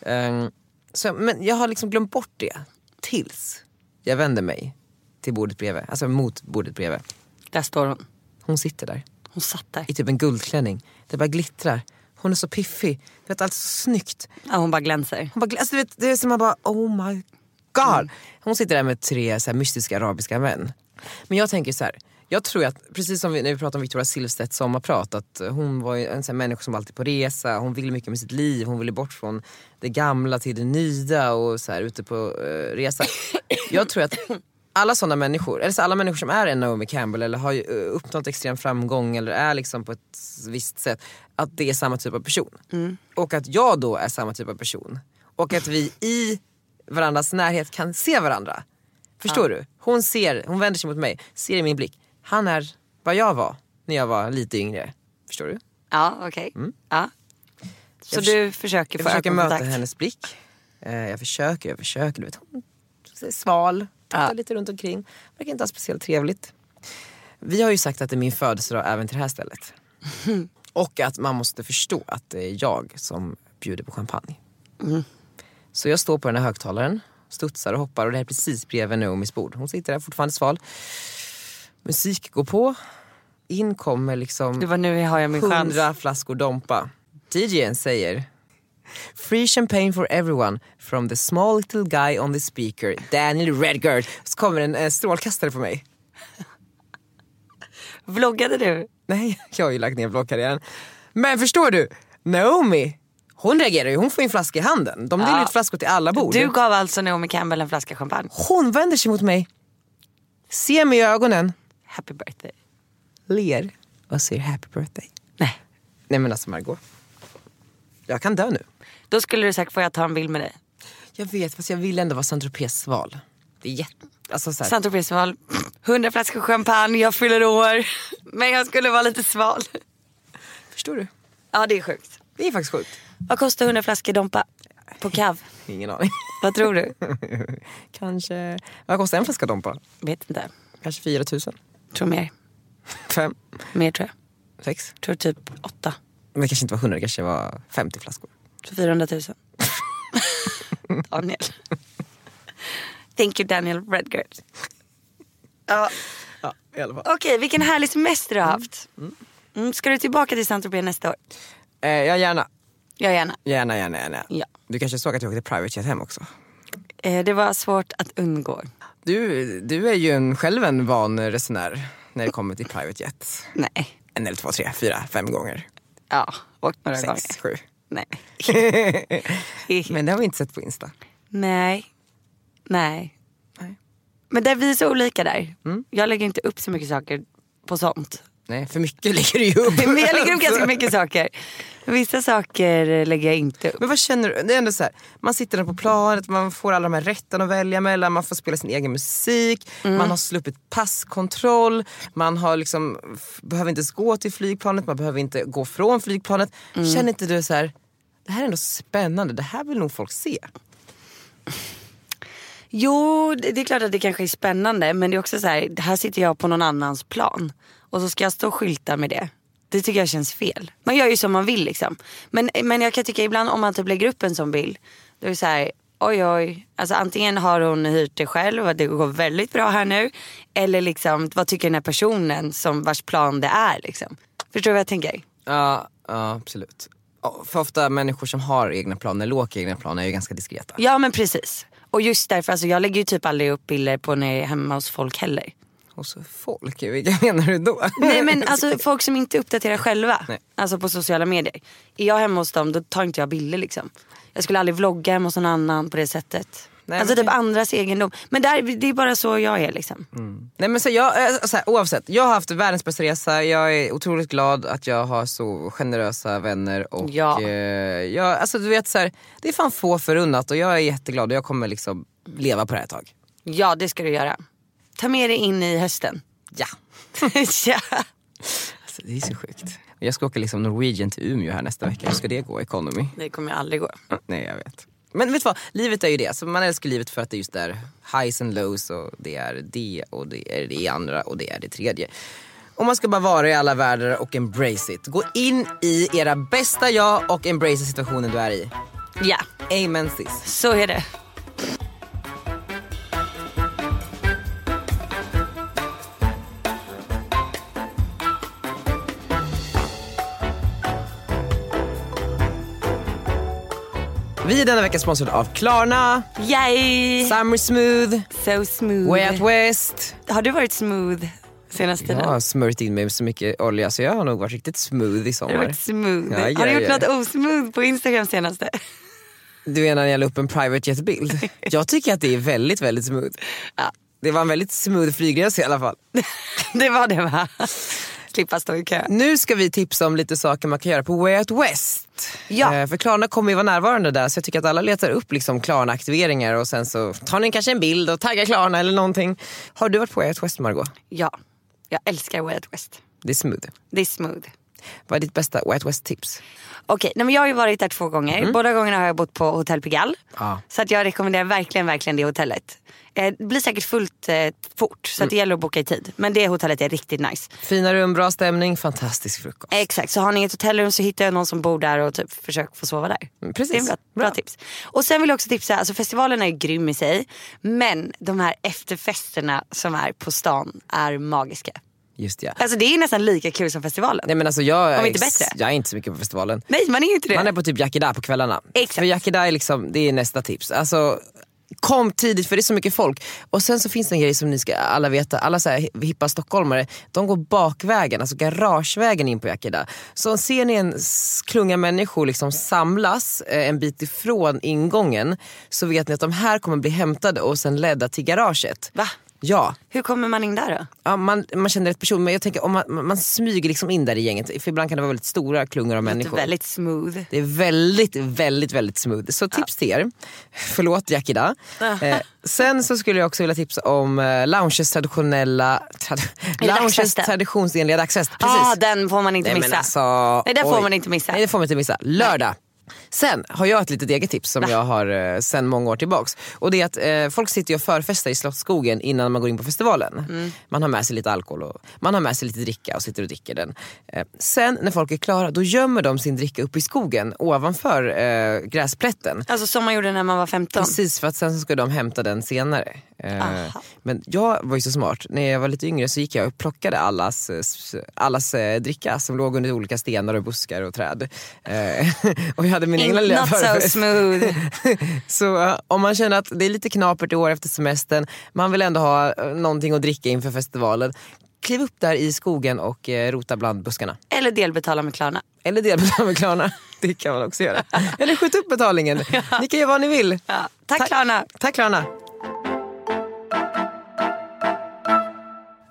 Speaker 3: Ehm, så, men jag har liksom glömt bort det tills jag vänder mig till bordet bredvid, alltså mot bordet bredvid.
Speaker 2: Där står hon.
Speaker 3: Hon sitter där
Speaker 2: Hon satt där.
Speaker 3: i typ en guldklänning. Det bara glittrar. Hon är så piffig. Du vet, allt är så snyggt.
Speaker 2: Ja, hon bara glänser.
Speaker 3: Hon bara, gl- alltså, du vet, det är som man bara, oh my god. Hon sitter där med tre så här, mystiska arabiska män. Men jag tänker så här. Jag tror att, precis som vi, när vi pratade om Victoria Silvstedts sommarprat, att hon var ju en sån här människa som alltid på resa, hon ville mycket med sitt liv, hon ville bort från det gamla till det nya och så här ute på eh, resa. Jag tror att alla sådana människor, eller så alla människor som är en Naomi Campbell eller har ju, eh, uppnått extrem framgång eller är liksom på ett visst sätt, att det är samma typ av person. Och att jag då är samma typ av person. Och att vi i varandras närhet kan se varandra. Förstår du? Hon ser, hon vänder sig mot mig, ser i min blick. Han är vad jag var när jag var lite yngre. Förstår du?
Speaker 2: Ja, okej. Ja. Så
Speaker 3: Mm. Jag förs-
Speaker 2: du försöker
Speaker 3: Jag
Speaker 2: få
Speaker 3: försöker möta
Speaker 2: ögonkontakt?
Speaker 3: hennes blick. Eh, Jag försöker, jag försöker. Du vet, hon är sval, tittar lite runt omkring. Verkar inte ha speciellt trevligt. Vi har ju sagt att det är min födelsedag även till det här stället. Och att man måste förstå att det är jag som bjuder på champagne.
Speaker 2: Mm.
Speaker 3: Så jag står på den här högtalaren, studsar och hoppar och det här är precis bredvid Naomis bord. Hon sitter där fortfarande sval. Musik går på. In kommer liksom
Speaker 2: Du var nu har jag min chans.
Speaker 3: hundra flaskor Dompa. DJn säger Free champagne for everyone from the small little guy on the speaker, Daniel Redgert. Så kommer en eh, strålkastare på mig.
Speaker 2: Vloggade du?
Speaker 3: Nej, jag har ju lagt ner bloggkarriären. Men förstår du, Naomi, hon reagerar ju. Hon får ju en flaska i handen. De delar
Speaker 2: Ja.
Speaker 3: ut flaskor till alla bord.
Speaker 2: Du gav alltså Naomi Campbell en flaska champagne.
Speaker 3: Hon vänder sig mot mig, ser mig i ögonen,
Speaker 2: Happy birthday.
Speaker 3: ler och säger happy birthday.
Speaker 2: Nej.
Speaker 3: Nej men alltså Margot, jag kan dö nu.
Speaker 2: Då skulle du säkert få jag ta en bild med dig.
Speaker 3: Jag vet, fast jag vill ändå vara Saint-Tropez val. Det är jätte... Alltså så här,
Speaker 2: Saint Tropez-val, 100 flaskor champagne, jag fyller år. Men jag skulle vara lite sval.
Speaker 3: förstår du?
Speaker 2: Ja det är sjukt.
Speaker 3: Det är faktiskt sjukt.
Speaker 2: Vad kostar 100 flaskor Dompa? På kav?
Speaker 3: Ingen aning.
Speaker 2: Vad tror du?
Speaker 3: Kanske... Vad kostar en flaska Dompa?
Speaker 2: Vet inte.
Speaker 3: Kanske 4 000?
Speaker 2: Tror mer.
Speaker 3: 5?
Speaker 2: Mer tror jag.
Speaker 3: 6?
Speaker 2: Tror typ 8.
Speaker 3: Men det kanske inte var 100, det kanske var 50 flaskor.
Speaker 2: Tror 400 000. Daniel. Thank you Daniel Redgert. Ja.
Speaker 3: Ja, i alla fall.
Speaker 2: Okej, vilken härlig semester du har haft. Mm, ska du tillbaka till Saint Tropez nästa år?
Speaker 3: Eh, ja, gärna.
Speaker 2: Ja, gärna.
Speaker 3: Gärna, gärna, gärna.
Speaker 2: Ja.
Speaker 3: Du kanske såg att jag åkte private jet hem också?
Speaker 2: Eh, det var svårt att undgå.
Speaker 3: Du, du är ju en, själv en van resenär när det kommer till private jet.
Speaker 2: Nej.
Speaker 3: En eller två, tre, fyra, fem gånger.
Speaker 2: Ja, åkt några
Speaker 3: Sex,
Speaker 2: gånger.
Speaker 3: sju.
Speaker 2: Nej.
Speaker 3: Men det har vi inte sett på Insta.
Speaker 2: Nej. Nej.
Speaker 3: Nej. Mm.
Speaker 2: Men där, vi är så olika där. Jag lägger inte upp så mycket saker på sånt.
Speaker 3: Nej, för mycket lägger du ju upp.
Speaker 2: Men jag lägger upp liksom ganska mycket saker. Vissa saker lägger jag inte upp.
Speaker 3: Men vad känner du? Det är ändå så här, man sitter där på planet, man får alla de här rätterna att välja mellan, man får spela sin egen musik, man har sluppit passkontroll, man har liksom, f- behöver inte ens gå till flygplanet, man behöver inte gå från flygplanet. Känner inte du så här, det här är ändå spännande, det här vill nog folk se.
Speaker 2: Jo, det det är klart att det kanske är spännande. Men det är också så här, här sitter jag på någon annans plan. Och så ska jag stå och skylta med det. Det tycker jag känns fel. Man gör ju som man vill liksom. Men, men jag kan tycka ibland om man typ lägger upp en sån bild. Då är det så här, oj oj. Alltså antingen har hon hyrt det själv och det går väldigt bra här nu. Eller liksom, vad tycker den här personen som vars plan det är liksom. Förstår du vad jag tänker?
Speaker 3: Ja, ja absolut. Ja, För ofta människor som har egna planer, eller åker egna planer, är ju ganska diskreta.
Speaker 2: Ja men precis. Och just därför, alltså jag lägger ju typ aldrig upp bilder på när jag är hemma hos folk heller.
Speaker 3: Och så folk, vilka menar du då?
Speaker 2: Nej men alltså folk som inte uppdaterar själva.
Speaker 3: typ. Nej.
Speaker 2: Alltså på sociala medier. Är jag hemma hos dem då tar inte jag bilder liksom. Jag skulle aldrig vlogga hemma hos någon annan på det sättet.
Speaker 3: Nej,
Speaker 2: alltså
Speaker 3: men
Speaker 2: typ andras egendom. Men där, det är bara så jag är liksom.
Speaker 3: Nej, men så jag, eh, så här, oavsett, jag har haft världens bästa resa, jag är otroligt glad att jag har så generösa vänner. Och,
Speaker 2: Ja.
Speaker 3: eh, jag, alltså, du vet, så här, det är fan få förunnat och jag är jätteglad och jag kommer liksom leva på det här ett tag.
Speaker 2: Ja det ska du göra. Ta med dig in i hösten.
Speaker 3: Ja.
Speaker 2: ja.
Speaker 3: Alltså, det är så sjukt. Och Jag ska åka liksom Norwegian till Umeå här nästa vecka, hur ska det gå? Economy?
Speaker 2: Det kommer jag aldrig gå.
Speaker 3: Nej jag vet. Men vet du vad, livet är ju det. Alltså, man älskar livet för att det är just där highs and lows och det är det och det är det andra och det är det tredje. Och man ska bara vara i alla världar och embrace it. Gå in i era bästa jag och embrace situationen du är i.
Speaker 2: Ja,
Speaker 3: Amen sis.
Speaker 2: så är det.
Speaker 3: Vi är denna vecka sponsrade av Klarna,
Speaker 2: Yay!
Speaker 3: Summer Smooth,
Speaker 2: So smooth.
Speaker 3: Way Out West.
Speaker 2: Har du varit smooth senaste
Speaker 3: Jag
Speaker 2: tiden?
Speaker 3: har smörjt in mig med så mycket olja så jag har nog varit riktigt smooth i
Speaker 2: Har du
Speaker 3: sommar.
Speaker 2: varit smooth?
Speaker 3: Ja,
Speaker 2: har du
Speaker 3: ja,
Speaker 2: gjort
Speaker 3: ja.
Speaker 2: något osmooth på Instagram senaste?
Speaker 3: Du menar när jag la upp en private jet-bild? Jag tycker att det är väldigt, väldigt smooth.
Speaker 2: Ja.
Speaker 3: Det var en väldigt smooth flygresa i alla fall.
Speaker 2: Det var det va? Slippa stå i kö.
Speaker 3: Nu ska vi tipsa om lite saker man kan göra på Way Out West.
Speaker 2: Ja.
Speaker 3: Eh, För Klarna kommer ju vara närvarande där så jag tycker att alla letar upp liksom Klarna-aktiveringar och sen så tar ni kanske en bild och taggar Klarna eller någonting. Har du varit på Way Out West Margot?
Speaker 2: Ja, jag älskar Way Out West.
Speaker 3: Det är smooth.
Speaker 2: Det är smooth.
Speaker 3: Vad är ditt bästa Way Out West-tips?
Speaker 2: Okej, nej men jag har ju varit där två gånger.
Speaker 3: Mm.
Speaker 2: Båda gångerna har jag bott på Hotel Pigalle.
Speaker 3: Ja.
Speaker 2: Så att jag rekommenderar verkligen, verkligen det hotellet. Eh, Det blir säkert fullt eh, fort
Speaker 3: Mm.
Speaker 2: så att det gäller att boka i tid. Men det hotellet är riktigt nice.
Speaker 3: Fina rum, bra stämning, fantastisk frukost.
Speaker 2: Exakt, så har ni ett hotellrum så hittar jag någon som bor där och typ försök få sova där.
Speaker 3: Mm, precis.
Speaker 2: Det är en bra, bra
Speaker 3: Bra.
Speaker 2: tips. Och sen vill jag också tipsa, alltså festivalen är ju grym i sig. Men de här efterfesterna som är på stan är magiska.
Speaker 3: Just ja.
Speaker 2: Alltså det är ju nästan lika kul som festivalen.
Speaker 3: Nej men alltså jag,
Speaker 2: Om
Speaker 3: är
Speaker 2: inte bättre.
Speaker 3: jag är inte så mycket på festivalen.
Speaker 2: Nej man är ju inte det.
Speaker 3: Man är på typ Yakida på kvällarna.
Speaker 2: Exakt.
Speaker 3: För Yakida är liksom, det är nästa tips. Alltså, kom tidigt för det är så mycket folk. Och sen så finns det en grej som ni ska alla veta, alla så här hippa stockholmare, de går bakvägen, alltså garagevägen in på Yakida. Så ser ni en s- klunga människor liksom samlas eh, en bit ifrån ingången så vet ni att de här kommer bli hämtade och sen ledda till garaget.
Speaker 2: Va?
Speaker 3: Ja,
Speaker 2: Hur kommer man in där då? Typ
Speaker 3: ja man, man känner rätt person men jag tänker om man, man man smyger liksom in där i gänget för ibland kan det vara väldigt stora klungor av
Speaker 2: Det är
Speaker 3: människor.
Speaker 2: väldigt smooth.
Speaker 3: Det är väldigt, väldigt, väldigt smooth. Så tips till er. Förlåt Yakida. Eh, sen så skulle jag också vilja tipsa om eh, lounges traditionella, trad lounges
Speaker 2: dagsfesten?
Speaker 3: traditionsenliga dagsfest. Precis.
Speaker 2: Ah, den får man inte
Speaker 3: Nej, men
Speaker 2: missa.
Speaker 3: alltså,
Speaker 2: Nej, den får
Speaker 3: oj.
Speaker 2: man inte missa.
Speaker 3: Nej det får man inte missa. Lördag. Sen har jag ett litet eget tips som jag har eh, sen många år tillbaks. Och det är att eh, folk sitter ju och förfestar i Slottsskogen innan man går in på festivalen.
Speaker 2: Mm.
Speaker 3: Man har med sig lite alkohol och man har med sig lite dricka och sitter och dricker den. Eh, sen när folk är klara då gömmer de sin dricka uppe i skogen ovanför eh, gräsplätten.
Speaker 2: Alltså som man gjorde när man var 15.
Speaker 3: Precis för att sen så ska de hämta den senare. Eh,
Speaker 2: Aha.
Speaker 3: men jag var ju så smart, när jag var lite yngre så gick jag och plockade allas, eh, s- allas eh, dricka som låg under olika stenar och buskar och träd. Eh, och jag hade min egna lilla
Speaker 2: Not so
Speaker 3: förfest.
Speaker 2: smooth.
Speaker 3: Så eh, om man känner att det är lite knapert i år efter semestern, man vill ändå ha eh, någonting att dricka inför festivalen. Kliv upp där i skogen och eh, rota bland buskarna.
Speaker 2: Eller delbetala med Klarna.
Speaker 3: Eller delbetala med Klarna. Det kan man också göra. Eller skjut upp betalningen. Ni kan göra vad ni vill.
Speaker 2: Ja. Tack,
Speaker 3: Tack.
Speaker 2: Klarna.
Speaker 3: Tack Klarna.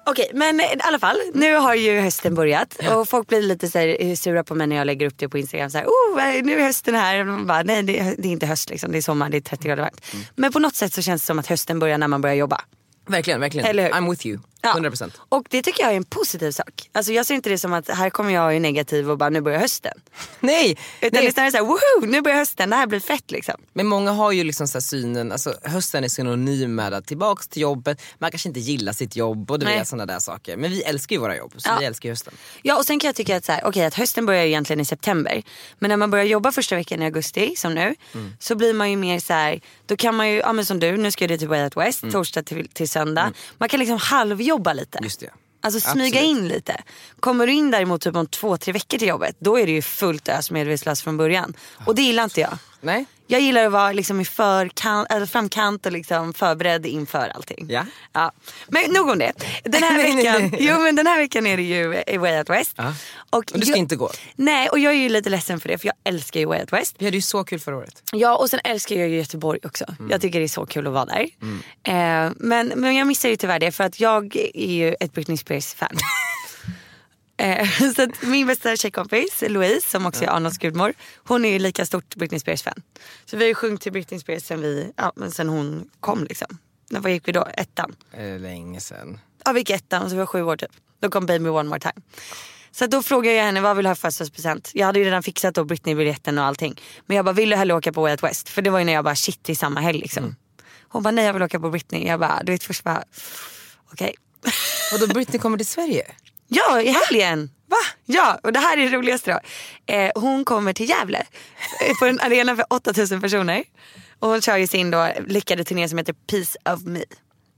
Speaker 2: Okej, men i alla fall. Nu har ju hösten börjat och folk blir lite så här, eh, sura på mig när jag lägger upp det på Instagram. Så här, oh, nu är hösten här. Och man bara, Nej, det är, det är inte höst liksom. Det är sommar, det är 30 grader varmt. Men på något sätt så känns det som att hösten börjar när man börjar jobba.
Speaker 3: Verkligen, verkligen.
Speaker 2: Eller hur?
Speaker 3: I'm with you.
Speaker 2: Ja.
Speaker 3: 100%.
Speaker 2: Och det tycker jag är en positiv sak. Alltså jag ser inte det som att här kommer jag och är negativ och bara nu börjar hösten.
Speaker 3: Nej,
Speaker 2: Utan det är
Speaker 3: nej.
Speaker 2: snarare såhär woho nu börjar hösten, det här blir fett liksom.
Speaker 3: men många har ju liksom så här synen, alltså hösten är synonym med att tillbaks till jobbet, man kanske inte gillar sitt jobb och du
Speaker 2: Nej.
Speaker 3: vet sådana där saker. Men vi älskar ju våra jobb, så
Speaker 2: Ja.
Speaker 3: vi älskar ju hösten.
Speaker 2: Ja och sen kan jag tycka att, så här, okej, att hösten börjar ju egentligen i september. Men när man börjar jobba första veckan i augusti som nu.
Speaker 3: Mm.
Speaker 2: Så blir man ju mer så här, då kan man ju, ja, men som du, nu ska jag till Way Out West
Speaker 3: Mm.
Speaker 2: torsdag till, till söndag. Man kan liksom halvjobba lite.
Speaker 3: Just det.
Speaker 2: Alltså smyga
Speaker 3: Absolut.
Speaker 2: in lite. Kommer du in däremot typ om två, tre veckor till jobbet. Då är det ju fullt ös medvetslös från början. Och det gillar inte jag.
Speaker 3: Nej?
Speaker 2: Jag gillar att vara liksom i förkant, eller framkant och liksom förberedd inför allting.
Speaker 3: Ja.
Speaker 2: Ja. Men nog om det. Den här,
Speaker 3: Nej, nej,
Speaker 2: veckan,
Speaker 3: nej.
Speaker 2: Jo, men den här veckan är det ju i Way Out West.
Speaker 3: Ja. Och du ska
Speaker 2: jag,
Speaker 3: inte gå?
Speaker 2: Nej, och jag är ju lite ledsen för det för jag älskar ju Way Out West.
Speaker 3: Vi hade ju så kul förra året.
Speaker 2: Ja, och sen älskar jag ju Göteborg också. Jag tycker det är så kul att vara där. Eh, men, men jag missar ju tyvärr det för att jag är ju ett Britney Spears-fan. Eh, Så att min bästa tjejkompis Louise som också är Arnolds gudmor Hon är ju lika stort Britney Spears fan Så vi har ju sjungit till Britney Spears sen, vi, ja, men sen hon kom liksom När vad gick vi då? Ettan?
Speaker 3: Eh, Länge sen.
Speaker 2: Ja vi gick ettan så vi var sju år typ Då kom Baby One More Time Så att då frågade jag henne vad vill du ha i födelsedagspresent? Jag hade ju redan fixat då Britney-biljetten och allting Men jag bara vill du hellre åka på Way Out West? För det var ju när jag bara shit det är samma helg liksom Hon bara nej jag vill åka på Britney Jag bara du vet först bara okej
Speaker 3: Och då Britney kommer till Sverige?
Speaker 2: Ja, i helgen! Va? Ja, och det här är det roligaste då. Eh, hon kommer till Gävle eh, på en arena för 8000 personer. Och hon kör ju sin då lyckade turné som heter Peace of Me.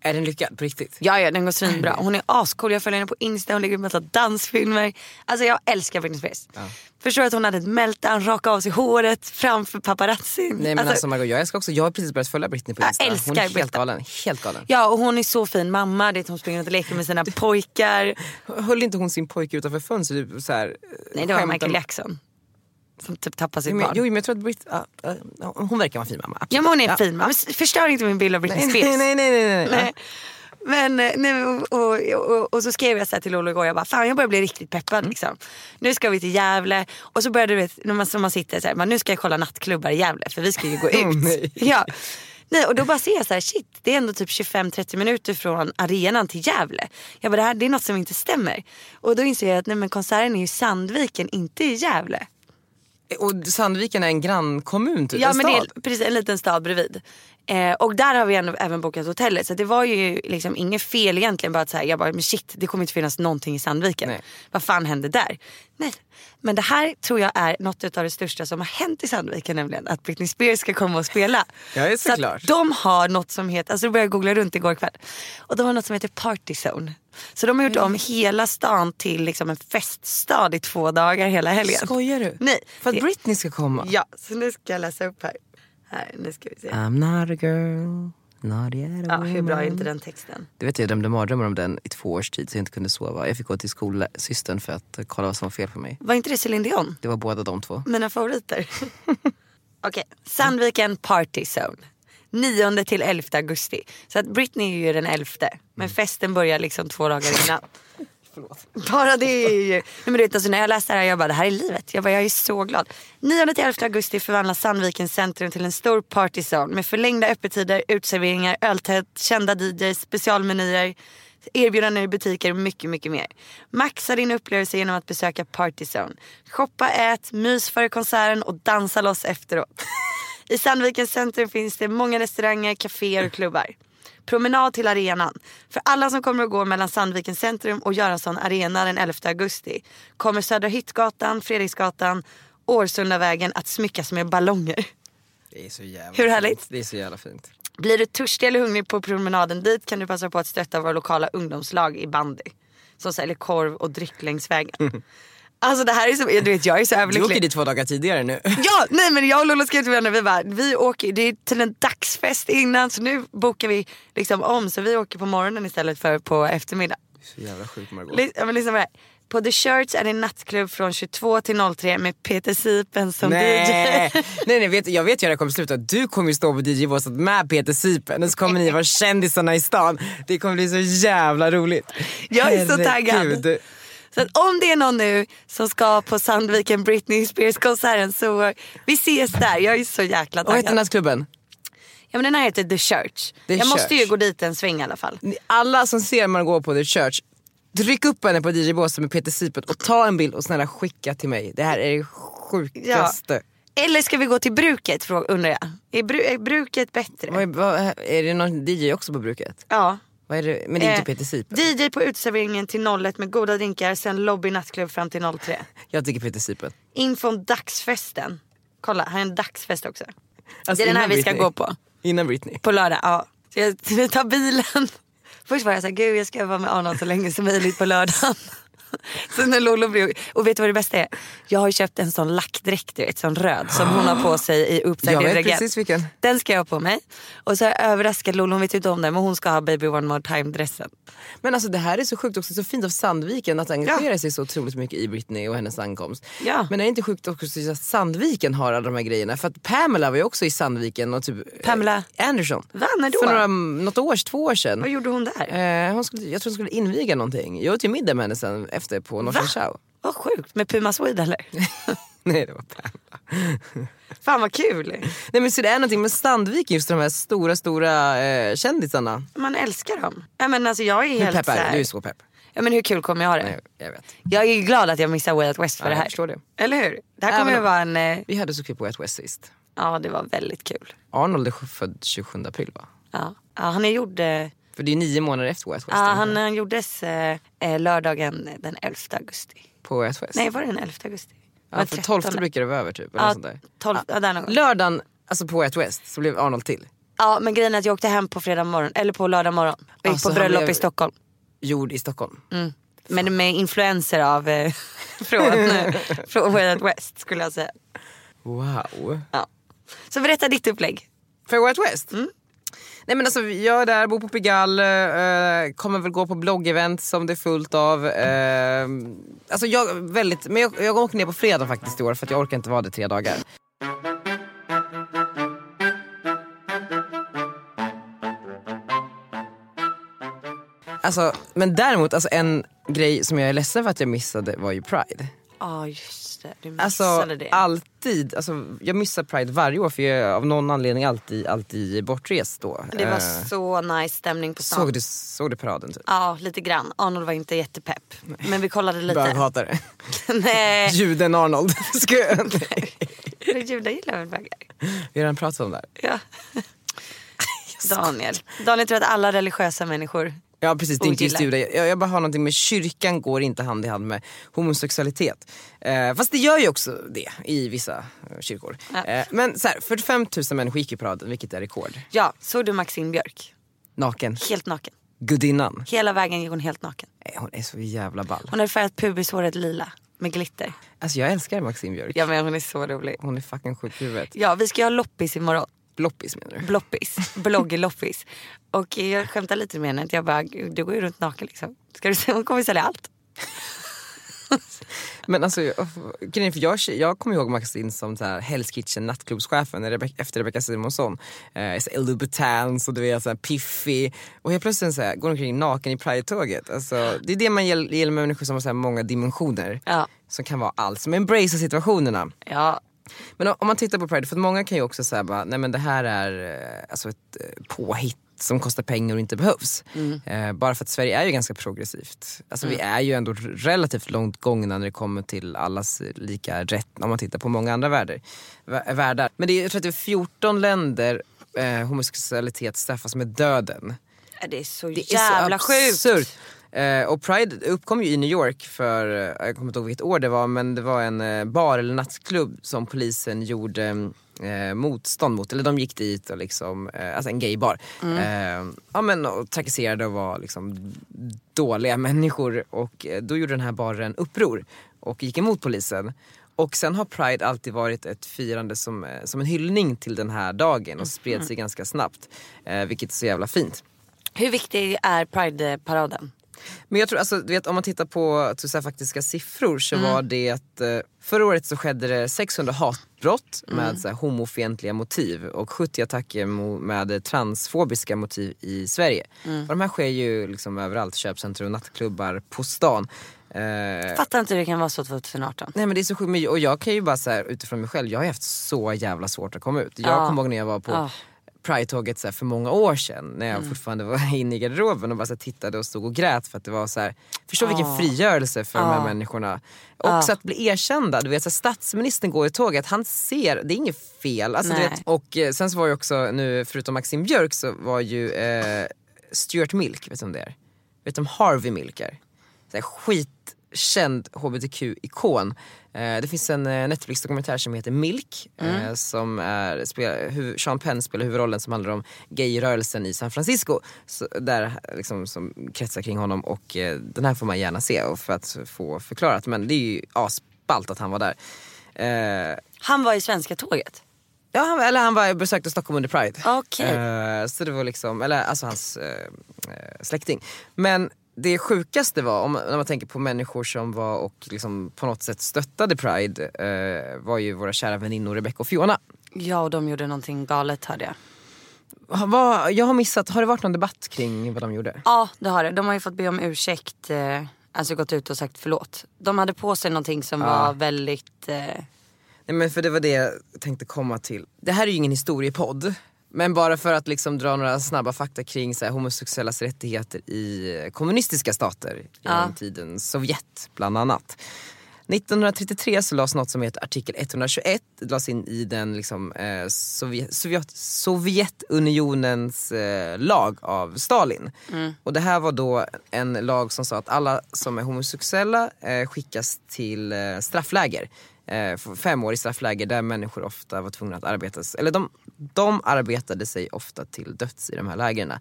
Speaker 3: Är den lyckad på riktigt?
Speaker 2: Ja, ja, den går svinbra. Hon är ascool, jag följer henne på Insta, hon lägger ut massa dansfilmer. Alltså jag älskar Britney Spears. Förstår att hon hade ett meltdown, raka av sig håret framför paparazzin.
Speaker 3: Nej men alltså, Margot jag älskar också, jag har precis börjat följa Britney på
Speaker 2: Jag
Speaker 3: Insta.
Speaker 2: älskar
Speaker 3: Hon är helt
Speaker 2: Britney.
Speaker 3: galen. Helt galen.
Speaker 2: Ja, och hon är så fin mamma. Det är att hon springer runt och leker med sina pojkar.
Speaker 3: Höll inte hon sin pojke utanför fönstret? Typ, så här, eh,
Speaker 2: Nej, det var
Speaker 3: skämtade-
Speaker 2: Michael Jackson. Som typ tappade sitt
Speaker 3: Jo,
Speaker 2: barn.
Speaker 3: men- Jo men jag tror att Britney, ja, ja, hon verkar vara en fin mamma. absolut.
Speaker 2: Ja men hon är
Speaker 3: Ja.
Speaker 2: fin mamma. Men Förstör inte min bild av Britney Spears.
Speaker 3: Nej, nej, nej, nej, nej. Ja.
Speaker 2: Nej. Men eh, nej, och, och, och, och så skrev jag så här till Olle igår, jag bara fan jag börjar bli riktigt peppad
Speaker 3: Mm.
Speaker 2: liksom. Nu ska vi till Gävle och så började du vet, när man, som man sitter så här, man, nu ska jag kolla nattklubbar i Gävle för vi ska ju gå ut.
Speaker 3: nej.
Speaker 2: Ja. Nej, och då bara ser jag så här, shit det är ändå typ 25-30 minuter från arenan till Gävle. Jag bara det här det är något som inte stämmer. Och då inser jag att nej, men konserten är ju i Sandviken, inte i Gävle.
Speaker 3: Eh, Och Sandviken är en grannkommun typ,
Speaker 2: Ja
Speaker 3: en
Speaker 2: men det
Speaker 3: stad.
Speaker 2: är precis, en liten stad bredvid. Eh, och där har vi ändå, även bokat hotellet. Så det var ju liksom inget fel egentligen. Bara att så här, jag bara, men shit det kommer inte finnas någonting i Sandviken.
Speaker 3: Nej.
Speaker 2: Vad fan hände där? Nej. Men det här tror jag är något av det största som har hänt i Sandviken nämligen. Att Britney Spears ska komma och spela.
Speaker 3: Ja, det är
Speaker 2: så
Speaker 3: såklart.
Speaker 2: att de har något som heter, alltså då började jag googla runt igår kväll. Och de har något som heter Party Zone. Så de har
Speaker 3: Mm.
Speaker 2: gjort om hela stan till liksom en feststad i två dagar hela helgen.
Speaker 3: Skojar du?
Speaker 2: Nej.
Speaker 3: För att
Speaker 2: det-
Speaker 3: Britney ska komma?
Speaker 2: Ja, så nu ska jag läsa upp här. Här, nu ska vi se.
Speaker 3: I'm not a girl, not yet a
Speaker 2: Ja, hur bra är
Speaker 3: woman.
Speaker 2: inte den texten?
Speaker 3: Du vet jag drömde mardrömmar om den i två års tid så jag inte kunde sova. Jag fick gå till skolsystern för att eh, kolla vad som var fel på mig.
Speaker 2: Var inte det Céline Dion?
Speaker 3: Det var båda de två.
Speaker 2: Mina favoriter. Okej, Sandviken Party Zone. 9 till 11 augusti. Så att Britney är ju den 11. Men festen börjar liksom två dagar innan. Bara det är ju... Nej, men du vet, alltså, när jag läste det här jag bara det här är livet. Jag, bara, jag är så glad. 9 till 11 augusti förvandlas Sandvikens centrum till en stor partyzone med förlängda öppettider, utserveringar, öltält, kända DJs, specialmenyer, erbjudanden i butiker och mycket, mycket mer. Maxa din upplevelse genom att besöka partyzone. Shoppa, ät, mys före konserten och dansa loss efteråt. I Sandvikens centrum finns det många restauranger, kaféer och klubbar. Promenad till arenan. För alla som kommer att gå mellan Sandvikens centrum och Göransson arena den 11 augusti kommer Södra Hyttgatan, Fredriksgatan, Årsundavägen att smyckas med ballonger.
Speaker 3: Det är så jävla
Speaker 2: Hur härligt?
Speaker 3: Det är så jävla fint.
Speaker 2: Blir du törstig eller hungrig på promenaden dit kan du passa på att stötta våra lokala ungdomslag i bandy. Som säljer korv och dryck längs vägen. Alltså det här är så, du vet jag är så
Speaker 3: Mm. Du åker
Speaker 2: överlycklig.
Speaker 3: dit två dagar tidigare nu.
Speaker 2: Ja, nej men jag och Lollo skrev till varandra, vi bara, vi åker, det är till en dagsfest innan så nu bokar vi liksom om så vi åker på morgonen istället för på eftermiddag.
Speaker 3: Så jävla sjukt Margot.
Speaker 2: Lys- ja, men lyssna på det här. På The Church är det en nattklubb från 22 till 03 med Peter Sipen som
Speaker 3: Nej.
Speaker 2: DJ.
Speaker 3: nej, nej vet, jag vet ju hur det kommer sluta. Du kommer ju stå på DJ-båset med Peter Sipen och så kommer ni vara kändisarna i stan. Det kommer bli så jävla roligt.
Speaker 2: Jag är så taggad.
Speaker 3: Herregud.
Speaker 2: Så att om det är någon nu som ska på Sandviken Britney Spears konserten så eh, vi ses där. Jag är så jäkla
Speaker 3: Vad heter den
Speaker 2: taggad.
Speaker 3: här klubben?
Speaker 2: Ja, men den här heter The Church.
Speaker 3: The
Speaker 2: jag måste ju
Speaker 3: Church.
Speaker 2: gå dit en sväng i alla fall.
Speaker 3: Ni- Alla som ser Margot på The Church, tryck upp henne på DJ-båset med Peter Sipen och ta en bild och snälla skicka till mig. Det här är det sjukaste.
Speaker 2: Eller ska vi gå till bruket frå- undrar jag. Är, bru- är bruket bättre?
Speaker 3: Vad är, vad, är det någon DJ också på bruket?
Speaker 2: Ja.
Speaker 3: Vad är det? Men det är
Speaker 2: Eh,
Speaker 3: inte Peter Sipen.
Speaker 2: DJ på uteserveringen till 01 med goda drinkar, sen lobby nattklubb fram till 03.
Speaker 3: Jag tycker Peter Sipen.
Speaker 2: Info om dagsfesten. Kolla, här är en dagsfest också.
Speaker 3: Alltså
Speaker 2: det är den här
Speaker 3: innan
Speaker 2: vi ska
Speaker 3: Britney.
Speaker 2: gå på.
Speaker 3: Innan Britney.
Speaker 2: På lördag, ja. Så jag jag tar bilen. Först var jag såhär, gud jag ska vara med Arnold så länge som möjligt på lördagen. Så när Lolo blev, och vet du vad det bästa är? Jag har ju köpt en sån lackdräkt, du vet, sån röd som hon har på sig i
Speaker 3: Jag
Speaker 2: uppdaterad
Speaker 3: vet precis vilken.
Speaker 2: Den ska jag ha på mig. Och så har jag överraskat Lolo, hon vet ju inte om det men hon ska ha baby one more time dressen.
Speaker 3: Men alltså det här är så sjukt också, så fint av Sandviken att engagera sig så otroligt mycket i Britney och hennes ankomst.
Speaker 2: Ja.
Speaker 3: Men är det inte sjukt också att Sandviken har alla de här grejerna? För att Pamela var ju också i Sandviken och typ
Speaker 2: Pamela?
Speaker 3: eh, Anderson.
Speaker 2: Va, när då?
Speaker 3: För några, något år, två år sedan.
Speaker 2: Vad gjorde hon där?
Speaker 3: Eh, hon skulle, jag tror hon skulle inviga någonting. Jag åt ju middag med henne sen efter på Norsen Show.
Speaker 2: Vad sjukt, med Puma Swede eller?
Speaker 3: Nej det var Pamela.
Speaker 2: Fan vad kul.
Speaker 3: Nej men så det är någonting med Sandviken, just de här stora stora eh, kändisarna.
Speaker 2: Man älskar dem. Ja, men alltså, jag är
Speaker 3: Hur
Speaker 2: helt
Speaker 3: pepp är
Speaker 2: så här-
Speaker 3: du? Du är så pepp.
Speaker 2: Ja, men hur kul kommer jag ha det?
Speaker 3: Nej, jag vet.
Speaker 2: Jag är ju glad att jag missar Way Out West för
Speaker 3: Ja,
Speaker 2: det
Speaker 3: jag
Speaker 2: här.
Speaker 3: förstår det.
Speaker 2: Eller hur? Det här kommer
Speaker 3: Även
Speaker 2: ju
Speaker 3: om-
Speaker 2: vara en... eh,
Speaker 3: Vi hade så kul på Wet West sist.
Speaker 2: Ja det var väldigt kul.
Speaker 3: Arnold är född 27 april va?
Speaker 2: Ja, ja han är gjord... eh,
Speaker 3: För det är nio månader efter West
Speaker 2: Ja,
Speaker 3: West. den
Speaker 2: han,
Speaker 3: här,
Speaker 2: han gjordes eh, eh, lördagen den 11 augusti.
Speaker 3: På West West.
Speaker 2: Nej var det den 11 augusti?
Speaker 3: ja, för 12 brukar det vara över typ. Eller
Speaker 2: ja,
Speaker 3: något sånt där.
Speaker 2: 12, ja, där någon gång.
Speaker 3: Lördagen, alltså på West West, så blev Arnold till.
Speaker 2: ja men grejen är att jag åkte hem på fredag morgon, eller på lördag morgon. Och gick
Speaker 3: Alltså,
Speaker 2: på
Speaker 3: han
Speaker 2: bröllop
Speaker 3: blev-
Speaker 2: i Stockholm.
Speaker 3: Gjord i Stockholm.
Speaker 2: Mm. Men med influenser av eh, från, eh, från Way Out West skulle jag säga.
Speaker 3: Wow.
Speaker 2: Ja. Så berätta ditt upplägg.
Speaker 3: För West West? Mm. Nej men alltså jag är där, bor på Pigalle, eh, kommer väl gå på bloggevent som det är fullt av. Eh, alltså jag, väldigt, men jag, jag åker ner på fredag faktiskt i år för att jag orkar inte vara där tre dagar. Alltså, men däremot, alltså en grej som jag är ledsen för att jag missade var ju Pride.
Speaker 2: Ja just det, du missade
Speaker 3: Alltså
Speaker 2: det.
Speaker 3: alltid, alltså, jag missar Pride varje år för jag är av någon anledning alltid, alltid bortrest då.
Speaker 2: Det var
Speaker 3: Eh,
Speaker 2: så nice stämning på stan.
Speaker 3: såg, du, såg du paraden typ?
Speaker 2: Ja, lite grann. Arnold var inte jättepepp. Men vi kollade lite. Eh.
Speaker 3: Böghatare.
Speaker 2: Nej,
Speaker 3: Juden Arnold. Ska jag-
Speaker 2: judar gillar väl bögar?
Speaker 3: Vi har redan pratat om det här.
Speaker 2: Ja. Daniel. Daniel tror att alla religiösa människor
Speaker 3: Ja precis, det är inte just
Speaker 2: Ogillar.
Speaker 3: judar. Jag, jag bara har någonting med kyrkan går inte hand i hand med homosexualitet. Eh, fast det gör ju också det i vissa eh, kyrkor.
Speaker 2: Ja.
Speaker 3: Eh, men så här, 45 000 människor gick i paraden vilket är rekord.
Speaker 2: Ja, såg du Maxine Björk?
Speaker 3: Naken.
Speaker 2: Helt naken.
Speaker 3: Gudinnan.
Speaker 2: Hela vägen gick hon helt naken.
Speaker 3: Eh, Hon är så jävla ball.
Speaker 2: Hon hade färgat pubishåret lila med glitter.
Speaker 3: Alltså jag älskar Maxine Björk.
Speaker 2: Ja men hon är så rolig.
Speaker 3: Hon är fucking sjuk i huvudet.
Speaker 2: Ja vi ska ju ha loppis imorgon.
Speaker 3: Loppis menar du?
Speaker 2: Bloppis. Bloggeloppis. Och jag skämtar lite med henne. att Jag bara, du går ju runt naken liksom. Ska du se, hon kommer sälja allt.
Speaker 3: Men alltså, jag- grejen är för jag, jag kommer ihåg Maxine som så här Hell's Kitchen nattklubbschefen Rebe- efter Rebecca Simonsson. Eh, så här Louboutins och du vet så här piffig. Och helt plötsligt så här, går hon omkring naken i Pride-tåget. Alltså, det är det man gäll- gillar med människor som har så här många dimensioner.
Speaker 2: Ja.
Speaker 3: Som kan vara allt, som embracear situationerna.
Speaker 2: Ja.
Speaker 3: Men om om man tittar på Pride, för att många kan ju också säga bara, nej men det här är eh, alltså ett eh, påhitt som kostar pengar och inte behövs. Eh, bara för att Sverige är ju ganska progressivt. Alltså vi är ju ändå r- relativt långt gångna när det kommer till allas lika rätt om man tittar på många andra världar. vä- världar. Men det är, jag tror att det är 14 länder eh, homosexualitet straffas med döden.
Speaker 2: Det är så
Speaker 3: Det
Speaker 2: jävla
Speaker 3: är så absurt.
Speaker 2: sjukt.
Speaker 3: Eh, och Pride uppkom ju i New York för, eh, jag kommer inte ihåg vilket år det var, men det var en eh, bar eller nattklubb som polisen gjorde eh, motstånd mot. Eller de gick dit och liksom, eh, alltså en gaybar.
Speaker 2: Mm.
Speaker 3: Eh, ja men och trakasserade och var liksom dåliga människor. Och eh, då gjorde den här baren uppror och gick emot polisen. Och sen har Pride alltid varit ett firande som, eh, som en hyllning till den här dagen
Speaker 2: Mm.
Speaker 3: och spred sig ganska snabbt. Eh, vilket är så jävla fint.
Speaker 2: Hur viktig är Pride-paraden?
Speaker 3: Men jag tror, alltså, du vet, om man tittar på typ så här, faktiska siffror så var det att eh, förra året så skedde det 600 hatbrott med så här, homofientliga motiv och 70 attacker mo- med transfobiska motiv i Sverige. Och de här sker ju liksom överallt, köpcentrum, nattklubbar, på stan. Eh,
Speaker 2: Fattar inte hur det kan vara så 2018.
Speaker 3: Nej men det är så sjukt, Men- och jag kan ju bara så här, utifrån mig själv, jag har ju haft så jävla svårt att komma ut. Jag
Speaker 2: Ja.
Speaker 3: kommer ihåg när jag var på
Speaker 2: Ja. Mm.
Speaker 3: Pride-tåget så här, för många år sedan när jag fortfarande var inne i garderoben och bara så här, tittade och stod och grät för att det var så här. förstå vilken frigörelse för de här människorna. Också att bli erkända, du vet så här, statsministern går i tåget, han ser, det är inget fel. Alltså, du
Speaker 2: Nej.
Speaker 3: vet, och eh, sen så var ju också nu, förutom Maxim Björk så var ju eh, Stuart Milk, vet du om det är? Vet du om Harvey Milk är? så här skitkänd hbtq-ikon. Eh, det finns en eh, Netflix-dokumentär som heter Milk. Eh, som är, spelar, hu- Sean Penn spelar huvudrollen som handlar om gayrörelsen i San Francisco. Så, där, eh, liksom, som kretsar kring honom och eh, den här får man gärna se och för att få förklarat. Men det är ju asballt att han var där. Eh,
Speaker 2: Han var i svenska tåget.
Speaker 3: Ja, han, eller han var, besökte Stockholm under Pride.
Speaker 2: Okej.
Speaker 3: Eh, så det var liksom, eller alltså hans eh, eh, släkting. Men det sjukaste var, om, när man tänker på människor som var och liksom på något sätt stöttade Pride, eh, var ju våra kära väninnor Rebecca och Fiona.
Speaker 2: Ja och de gjorde någonting galet hörde jag.
Speaker 3: Har- vad- jag har missat, har det varit någon debatt kring vad de gjorde?
Speaker 2: Ja det har det. De har ju fått be om ursäkt. Eh, alltså gått ut och sagt förlåt. De hade på sig någonting som var väldigt... Eh,
Speaker 3: Nej men för det var det jag tänkte komma till. Det här är ju ingen historiepodd. Men bara för att liksom dra några snabba fakta kring så här, homosexuellas rättigheter i kommunistiska stater. Genom tiden Sovjet bland annat. 1933 så lades något som heter artikel 121. Det lades in i den liksom, eh, Sovjet, Sovjet, Sovjetunionens eh, lag av Stalin. Och det här var då en lag som sa att alla som är homosexuella eh, skickas till eh, straffläger eh, f- fem år i straffläger där människor ofta var tvungna att arbeta, eller de, de arbetade sig ofta till döds i de här lägren.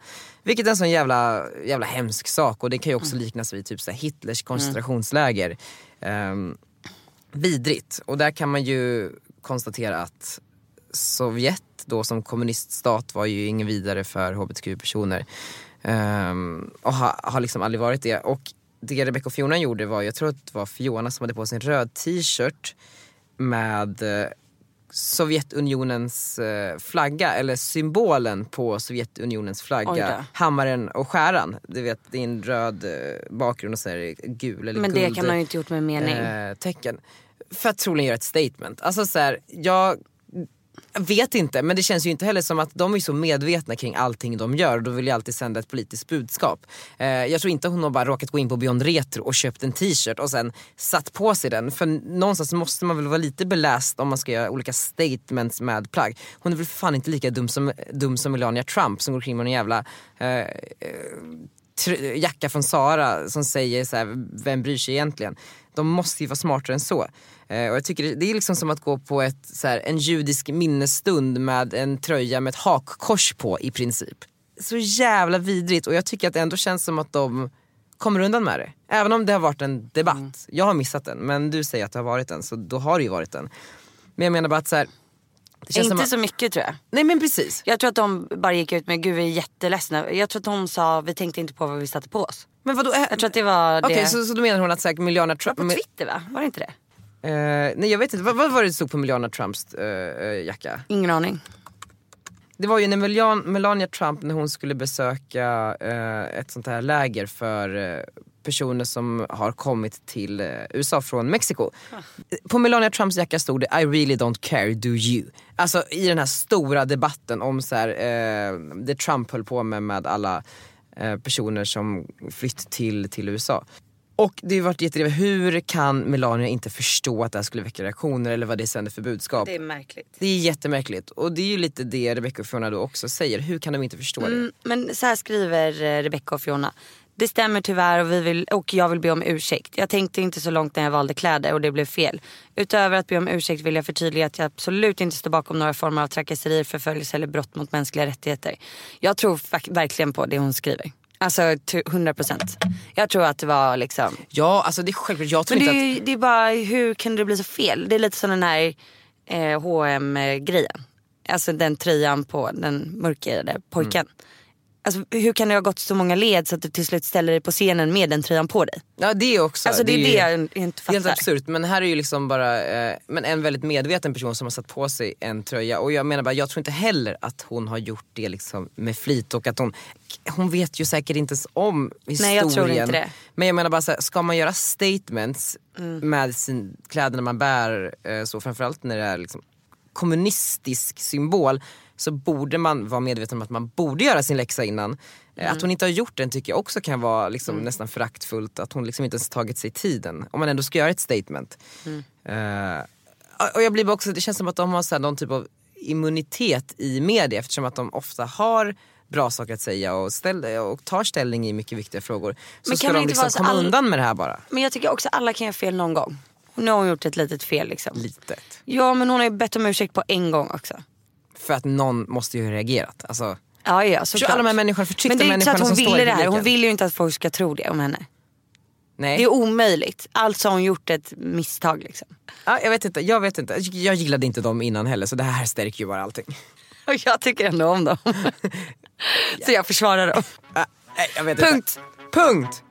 Speaker 3: Vilket är en sån jävla, jävla hemsk sak och det kan ju också liknas vid typ så här Hitlers koncentrationsläger. Ehm, vidrigt och där kan man ju konstatera att Sovjet då som kommuniststat var ju ingen vidare för hbtq-personer. Ehm, och har har liksom aldrig varit det. Och det Rebecca och Fiona gjorde var, jag tror att det var Fiona som hade på sig en röd t-shirt med eh, Sovjetunionens eh, flagga, eller symbolen på Sovjetunionens
Speaker 2: Oj
Speaker 3: flagga.
Speaker 2: då.
Speaker 3: Hammaren och skäran. Du vet, det är en röd eh, bakgrund och så är det gul eller
Speaker 2: men
Speaker 3: guld.
Speaker 2: det kan man ju inte gjort med mening.
Speaker 3: Eh, tecken. För att troligen göra ett statement. Alltså så här, jag Vet inte, men det känns ju inte heller som att de är så medvetna kring allting de gör och de vill ju alltid sända ett politiskt budskap. Eh, jag tror inte hon har bara råkat gå in på Beyond Retro och köpt en t-shirt och sen satt på sig den. För någonstans måste man väl vara lite beläst om man ska göra olika statements med plagg. Hon är väl för fan inte lika dum som, dum som Melania Trump som går kring med en jävla eh, eh, tr- jacka från Sara som säger så här, vem bryr sig egentligen? De måste ju vara smartare än så. Eh, och jag tycker det, det är liksom som att gå på ett, så här, en judisk minnesstund med en tröja med ett hakkors på i princip. Så jävla vidrigt och jag tycker att det ändå känns som att de kommer undan med det. Även om det har varit en debatt.
Speaker 2: Mm.
Speaker 3: Jag har missat den men du säger att det har varit en så då har det ju varit en. Men jag menar bara att så här, det känns som
Speaker 2: Inte
Speaker 3: att,
Speaker 2: så mycket tror jag.
Speaker 3: Nej men precis.
Speaker 2: Jag tror att de bara gick ut med gud vi är jätteledsna. Jag tror att hon sa vi tänkte inte på vad vi satte på oss.
Speaker 3: Men vadå? eh,
Speaker 2: Jag tror att det var det.
Speaker 3: Okej så, så då menar hon att säkert Miljarna Trump...
Speaker 2: På Twitter va? Var det inte det?
Speaker 3: Eh, nej jag vet inte, vad, vad var det det stod på Melania Trumps eh, eh, jacka?
Speaker 2: Ingen aning.
Speaker 3: Det var ju när Melian, Melania Trump när hon skulle besöka eh, ett sånt här läger för eh, personer som har kommit till eh, USA från Mexiko. På Melania Trumps jacka stod det I really don't care, do you? Alltså i den här stora debatten om så här, eh, det Trump höll på med med alla eh, personer som flytt till, till USA. Och det har varit jättedrivet, hur kan Melania inte förstå att det här skulle väcka reaktioner eller vad det sänder för budskap?
Speaker 2: är märkligt.
Speaker 3: Det är jättemärkligt och det är ju lite det Rebecca och Fiona då också säger. Hur kan de inte förstå det?
Speaker 2: Mm, men så här skriver eh, Rebecca och Fiona. Det stämmer tyvärr och, vi vill, och jag vill be om ursäkt. Jag tänkte inte så långt när jag valde kläder och det blev fel. Utöver att be om ursäkt vill jag förtydliga att jag absolut inte står bakom några former av trakasserier, förföljelse eller brott mot mänskliga rättigheter. Jag tror fak- verkligen på det hon skriver. Alltså tu- 100%. Jag tror att det var liksom
Speaker 3: Ja, alltså det är självklart. Jag tror
Speaker 2: Men det
Speaker 3: inte
Speaker 2: är,
Speaker 3: att...
Speaker 2: ju- det är bara, hur kunde det bli så fel? Det är lite som den här eh, hm grejen Alltså den tröjan på den mörkhyade pojken.
Speaker 3: Mm.
Speaker 2: Alltså, hur kan det ha gått så många led så att du till slut ställer dig på scenen med den tröjan på dig?
Speaker 3: Ja, det är också.
Speaker 2: Alltså det är
Speaker 3: ju-
Speaker 2: det jag inte
Speaker 3: Helt
Speaker 2: fattar.
Speaker 3: absurt men här är ju liksom bara eh, men en väldigt medveten person som har satt på sig en tröja och jag menar bara jag tror inte heller att hon har gjort det liksom med flit och att hon hon vet ju säkert inte ens om historien.
Speaker 2: Nej, jag tror inte det.
Speaker 3: Men jag menar bara så här, ska man göra statements med sin kläderna man bär eh, så framförallt när det är liksom kommunistisk symbol så borde man vara medveten om att man borde göra sin läxa innan. Eh, Att hon inte har gjort den tycker jag också kan vara liksom nästan föraktfullt. Att hon liksom inte ens tagit sig tiden. Om man ändå ska göra ett statement. Eh, och jag blir bara också, det känns som att de har så här någon typ av immunitet i media eftersom att de ofta har bra saker att säga och, ställ, och tar ställning i mycket viktiga frågor. Så
Speaker 2: Men
Speaker 3: ska
Speaker 2: kan det
Speaker 3: de
Speaker 2: inte
Speaker 3: liksom
Speaker 2: vara så
Speaker 3: komma
Speaker 2: all-
Speaker 3: undan med det här bara.
Speaker 2: Men jag tycker också alla kan göra fel någon gång. Och Nu har hon gjort ett litet fel liksom.
Speaker 3: Litet.
Speaker 2: Ja men hon har ju bett om ursäkt på en gång också.
Speaker 3: För att någon måste ju ha reagerat. Alltså,
Speaker 2: Ja ja
Speaker 3: Förstår
Speaker 2: såklart.
Speaker 3: alla de här människorna, förtryckta
Speaker 2: Men det är inte så att
Speaker 3: människorna
Speaker 2: hon
Speaker 3: som står
Speaker 2: ville
Speaker 3: i
Speaker 2: det här. Hon
Speaker 3: publiken.
Speaker 2: vill ju inte att folk ska tro det om henne.
Speaker 3: Nej.
Speaker 2: Det är omöjligt. Alltså har hon gjort ett misstag liksom.
Speaker 3: Ja, jag vet inte, jag vet inte. Jag gillade inte dem innan heller så det här stärker ju bara allting.
Speaker 2: Och jag tycker ändå om dem. Så jag försvarar dem.
Speaker 3: Ah, nej, jag vet
Speaker 2: Punkt.
Speaker 3: Inte. Punkt!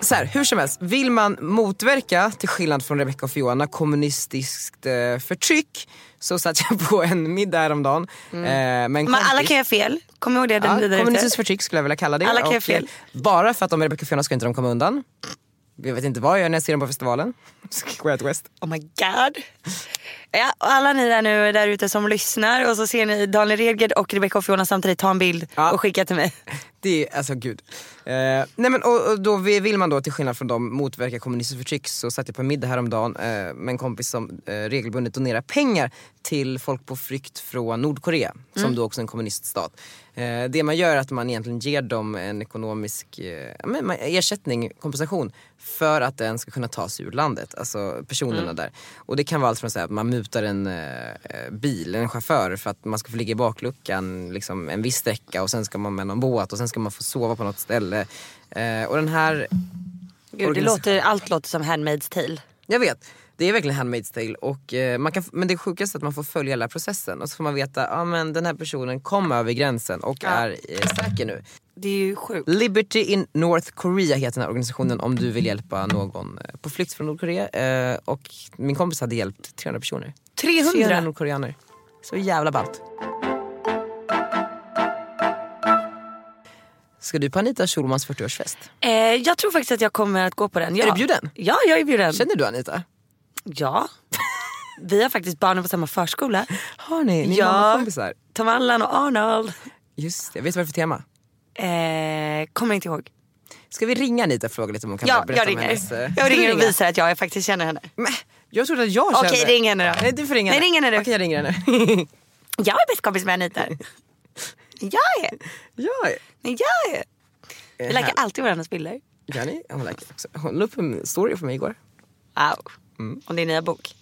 Speaker 3: Så här, hur som helst, vill man motverka, till skillnad från Rebecca och Fiona, kommunistiskt eh, förtryck så satt jag på en middag häromdagen. Eh, men
Speaker 2: Mm. Men alla kan göra fel. Kom ihåg det. Den
Speaker 3: Ja,
Speaker 2: vidare
Speaker 3: kommunistiskt förtryck skulle jag vilja kalla det.
Speaker 2: Alla kan göra
Speaker 3: Och,
Speaker 2: fel.
Speaker 3: eh, Bara för att de är Rebecca och Fiona ska inte de komma undan. Jag vet inte vad jag gör när jag ser dem på festivalen. Quiet West.
Speaker 2: Oh my god. Ja, och alla ni där nu där ute som lyssnar och så ser ni Daniel Redgert och Rebecca och Fiona samtidigt. Ta en bild
Speaker 3: Ja.
Speaker 2: och skicka till mig.
Speaker 3: Det är, alltså gud. Eh, nej men och, och då vi- vill man då till skillnad från dem motverka kommunistiskt förtryck så satt jag på en middag häromdagen eh, med en kompis som eh, regelbundet donerar pengar till folk på flykt från Nordkorea som då också är en kommuniststat. Eh, det man gör är att man egentligen ger dem en ekonomisk eh, ja, men, man- ersättning, kompensation för att den ska kunna ta sig ur landet, alltså personerna där. Och det kan vara allt från så här att man mutar en eh, eh, bil, en chaufför för att man ska få ligga i bakluckan liksom, en viss sträcka och sen ska man med någon båt och sen ska man få sova på något ställe. Eh, och den här
Speaker 2: Gud, det
Speaker 3: Organisa-
Speaker 2: låter, allt låter som Handmaid's tale.
Speaker 3: jag vet, det är verkligen Handmaid's tale. Och, eh, man kan, f- men det sjukaste är att man får följa hela processen och så får man veta att ah, men den här personen kom över gränsen och är eh, säker nu.
Speaker 2: Det är ju sjukt.
Speaker 3: Liberty in North Korea heter den här organisationen om du vill hjälpa någon eh, på flykt från Nordkorea. Eh, och min kompis hade hjälpt 300 personer.
Speaker 2: 300?
Speaker 3: 300 nordkoreaner. Så jävla ballt. Ska du på Anita Schulmans 40-årsfest?
Speaker 2: Eh, jag tror faktiskt att jag kommer att gå på den. Ja.
Speaker 3: Är du bjuden?
Speaker 2: Ja, jag är bjuden.
Speaker 3: Känner du Anita?
Speaker 2: Ja. Vi har faktiskt barnen på samma förskola.
Speaker 3: Har ni? Ni är
Speaker 2: Ja.
Speaker 3: mammakompisar?
Speaker 2: Tom Allan och Arnold.
Speaker 3: Just det, vet du vad det är för tema?
Speaker 2: Eh, kommer inte ihåg.
Speaker 3: Ska vi ringa Anita och fråga lite om hon kan
Speaker 2: Ja,
Speaker 3: berätta
Speaker 2: jag
Speaker 3: om hennes...
Speaker 2: ringer.
Speaker 3: eh,
Speaker 2: Jag
Speaker 3: du
Speaker 2: ringer och
Speaker 3: ringer?
Speaker 2: visar att jag faktiskt känner henne.
Speaker 3: Men, jag trodde att jag kände...
Speaker 2: Okej, ring henne då.
Speaker 3: Nej, du får ringa
Speaker 2: Nej, ring henne du.
Speaker 3: Okej, jag ringer henne.
Speaker 2: Jag är bäst kompis med Anita. Jag är.
Speaker 3: ja,
Speaker 2: Nej, jag är. Vi
Speaker 3: här.
Speaker 2: läkar alltid varandras bilder.
Speaker 3: gör ni? Hon likar också. Hon la upp en story för mig igår.
Speaker 2: Wow. Om din nya bok.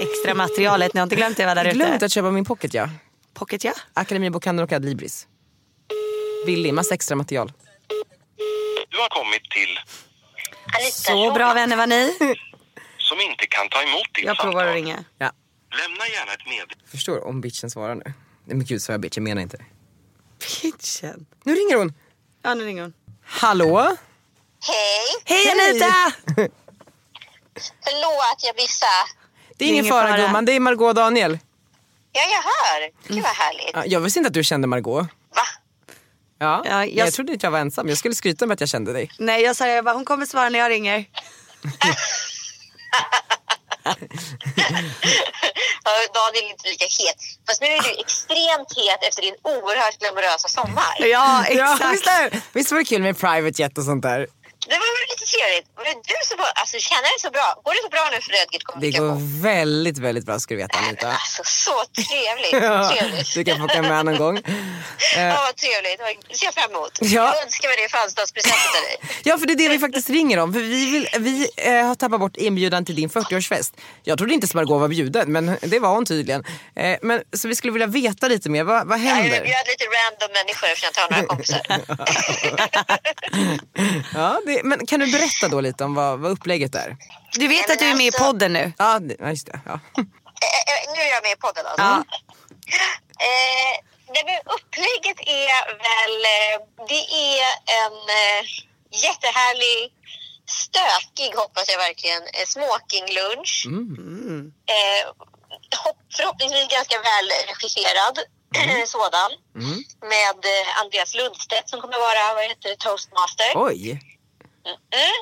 Speaker 2: Extra materialet, ni har inte glömt det va där
Speaker 3: Jag glömde
Speaker 2: ute?
Speaker 3: att köpa min pocket ja.
Speaker 2: Pocket ja.
Speaker 3: Akademibokhandeln och Adlibris. Billig, massa extra material.
Speaker 4: Du har kommit till
Speaker 2: Så bra vänner var ni.
Speaker 4: som inte kan ta emot ditt
Speaker 2: Jag provar att ringa.
Speaker 3: Ja.
Speaker 4: Lämna gärna ett meddelande.
Speaker 3: Förstår om bitchen svarar nu. Nej men gud sa jag bitch, jag menar inte det.
Speaker 2: Pitchen.
Speaker 3: Nu ringer hon!
Speaker 2: Ja nu ringer hon.
Speaker 3: Hallå?
Speaker 5: Hej!
Speaker 2: Hej Anita!
Speaker 5: Förlåt, jag missade.
Speaker 3: Det är ingen
Speaker 2: ingen
Speaker 3: fara
Speaker 2: fara.
Speaker 3: gumman, det är Margot och Daniel.
Speaker 5: Ja, jag hör. Gud vad härligt.
Speaker 3: Ja, Jag visste inte att du kände Margot.
Speaker 5: Va?
Speaker 3: Ja,
Speaker 2: Ja,
Speaker 3: jag...
Speaker 2: jag-
Speaker 3: trodde att jag var ensam. Jag skulle skryta med att jag kände dig.
Speaker 2: Nej jag sa jag bara hon kommer svara när jag ringer.
Speaker 5: Ja, Daniel är inte lika het. Fast nu är du extremt het efter din oerhört glamorösa sommar.
Speaker 2: Ja
Speaker 3: visst,
Speaker 2: exakt.
Speaker 3: är, visst var det kul med private jet och sånt där?
Speaker 5: Det var väl lite trevligt. Men du så bra. Alltså, känner det så bra. Går det så bra nu för Rödgert
Speaker 3: Det
Speaker 5: kommunikation?
Speaker 3: går väldigt, väldigt bra ska du veta Anita.
Speaker 5: Alltså, så trevligt.
Speaker 3: Ja,
Speaker 5: trevligt.
Speaker 3: du kan få åka med någon gång. Eh,
Speaker 5: Ja, vad trevligt. Det ser jag fram emot.
Speaker 3: Ja.
Speaker 5: Jag önskar mig det i födelsedagspresent till dig.
Speaker 3: Ja, för det är det vi faktiskt ringer om. För vi vill, vi eh, har tappat bort inbjudan till din 40-årsfest. Jag trodde inte att Margot var bjuden, men det var hon tydligen. Eh, men, så vi skulle vilja veta lite mer. Vad, vad
Speaker 5: Ja, Jag
Speaker 3: händer?
Speaker 5: bjöd lite random människor eftersom jag inte har några kompisar.
Speaker 3: Ja, det, men kan du berätta då lite om vad, vad upplägget är?
Speaker 2: Du vet att du är med i podden nu.
Speaker 3: Ja, det- ja, just det. Ja.
Speaker 5: Eh, eh, nu är jag med i podden alltså.
Speaker 2: Ja.
Speaker 5: Eh, nej, men upplägget är väl, eh, det är en eh, jättehärlig, stökig hoppas jag verkligen, eh, smokinglunch.
Speaker 3: Mm,
Speaker 2: Mm.
Speaker 5: Eh, hopp, förhoppningsvis ganska väl regisserad sådan.
Speaker 3: mm.
Speaker 5: Med eh, Andreas Lundstedt som kommer vara vad heter det, toastmaster.
Speaker 3: Oj!
Speaker 5: Mm.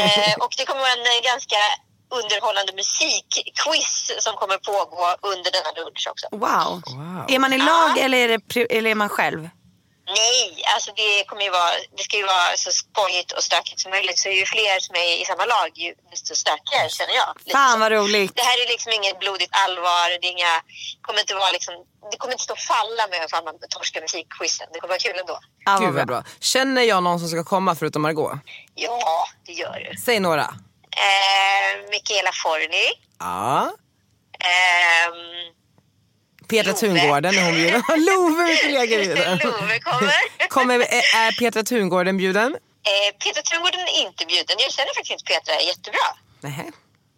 Speaker 5: Eh, och det kommer vara en eh, ganska underhållande musikquiz som kommer pågå under denna lunch också.
Speaker 2: Wow.
Speaker 3: Wow.
Speaker 2: Är man i lag eller är, det, pri- eller är man själv?
Speaker 5: Nej, alltså det, kommer ju vara, det ska ju vara så skojigt och stökigt som möjligt. Så ju fler som är i samma lag, ju desto stökigare känner jag. Lite
Speaker 2: Fan
Speaker 5: så.
Speaker 2: vad roligt.
Speaker 5: Det här är liksom inget blodigt allvar. Det, är inga, kommer inte vara liksom, det kommer inte stå och falla med hur man torskar musikquizen. Det kommer vara kul ändå.
Speaker 2: Ja,
Speaker 3: Gud vad bra. Känner jag någon som ska komma förutom Margot?
Speaker 5: Ja, det gör du.
Speaker 3: Säg några.
Speaker 5: Eh, Michaela Forni.
Speaker 3: Ja.
Speaker 5: Ehm,
Speaker 3: Petra
Speaker 5: Love.
Speaker 3: Tungården är hon bjuden. Love är kollega bjuden.
Speaker 5: Love kommer.
Speaker 3: Kommer, är- är Petra Tungården bjuden?
Speaker 5: Eh, Petra Tungården är inte bjuden. Jag känner faktiskt inte Petra jättebra.
Speaker 3: Nej.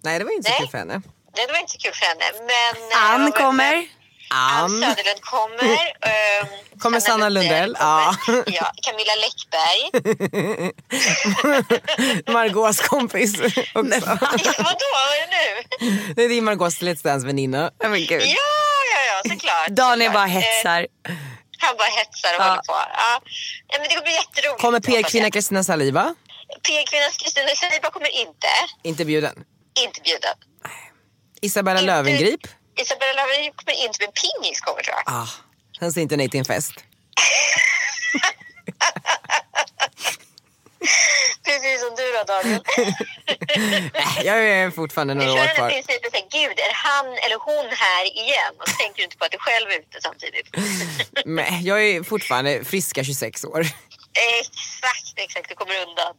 Speaker 3: Nej, det var inte så
Speaker 5: Nej.
Speaker 3: kul för henne.
Speaker 5: Det var inte så kul för henne. Men, eh,
Speaker 2: Ann
Speaker 5: men-
Speaker 2: kommer.
Speaker 5: Ann
Speaker 3: Ann.
Speaker 5: Söderlund kommer. ehm,
Speaker 3: Kommer Sanna Lundell, ja.
Speaker 5: kommer. ja. Camilla Läckberg.
Speaker 3: Margaux kompis också.
Speaker 5: Vadå, vad är det nu?
Speaker 3: Nej, det är Margaux Let's Dance-väninna.
Speaker 2: Ja, men gud.
Speaker 5: Ja, ja, ja, såklart.
Speaker 2: Daniel
Speaker 5: såklart.
Speaker 2: bara
Speaker 5: Eh,
Speaker 2: hetsar.
Speaker 5: han bara hetsar och
Speaker 2: Ja.
Speaker 5: håller på. Ja. Nej, Men det kommer bli jätteroligt.
Speaker 3: Kommer PR-kvinna
Speaker 5: hoppas
Speaker 3: Kristina Saliba?
Speaker 5: jag. PR-kvinnan Kristina Seiba kommer inte.
Speaker 3: Inte bjuden.
Speaker 5: Inte bjuden.
Speaker 3: Isabella Löwengrip?
Speaker 5: Isabella Löwengrip kommer inte, men Pingis kommer tror jag.
Speaker 3: Ah, hon säger inte nej till en fest.
Speaker 5: Precis som du då, Daniel.
Speaker 3: Äh, Jag är fortfarande
Speaker 5: Du
Speaker 3: några
Speaker 5: kör
Speaker 3: år
Speaker 5: den
Speaker 3: kvar.
Speaker 5: principen såhär, gud är han eller hon här igen? Och så tänker du inte på att du själv är ute samtidigt.
Speaker 3: Men jag är fortfarande friska 26 år.
Speaker 5: exakt, exakt, du kommer undan.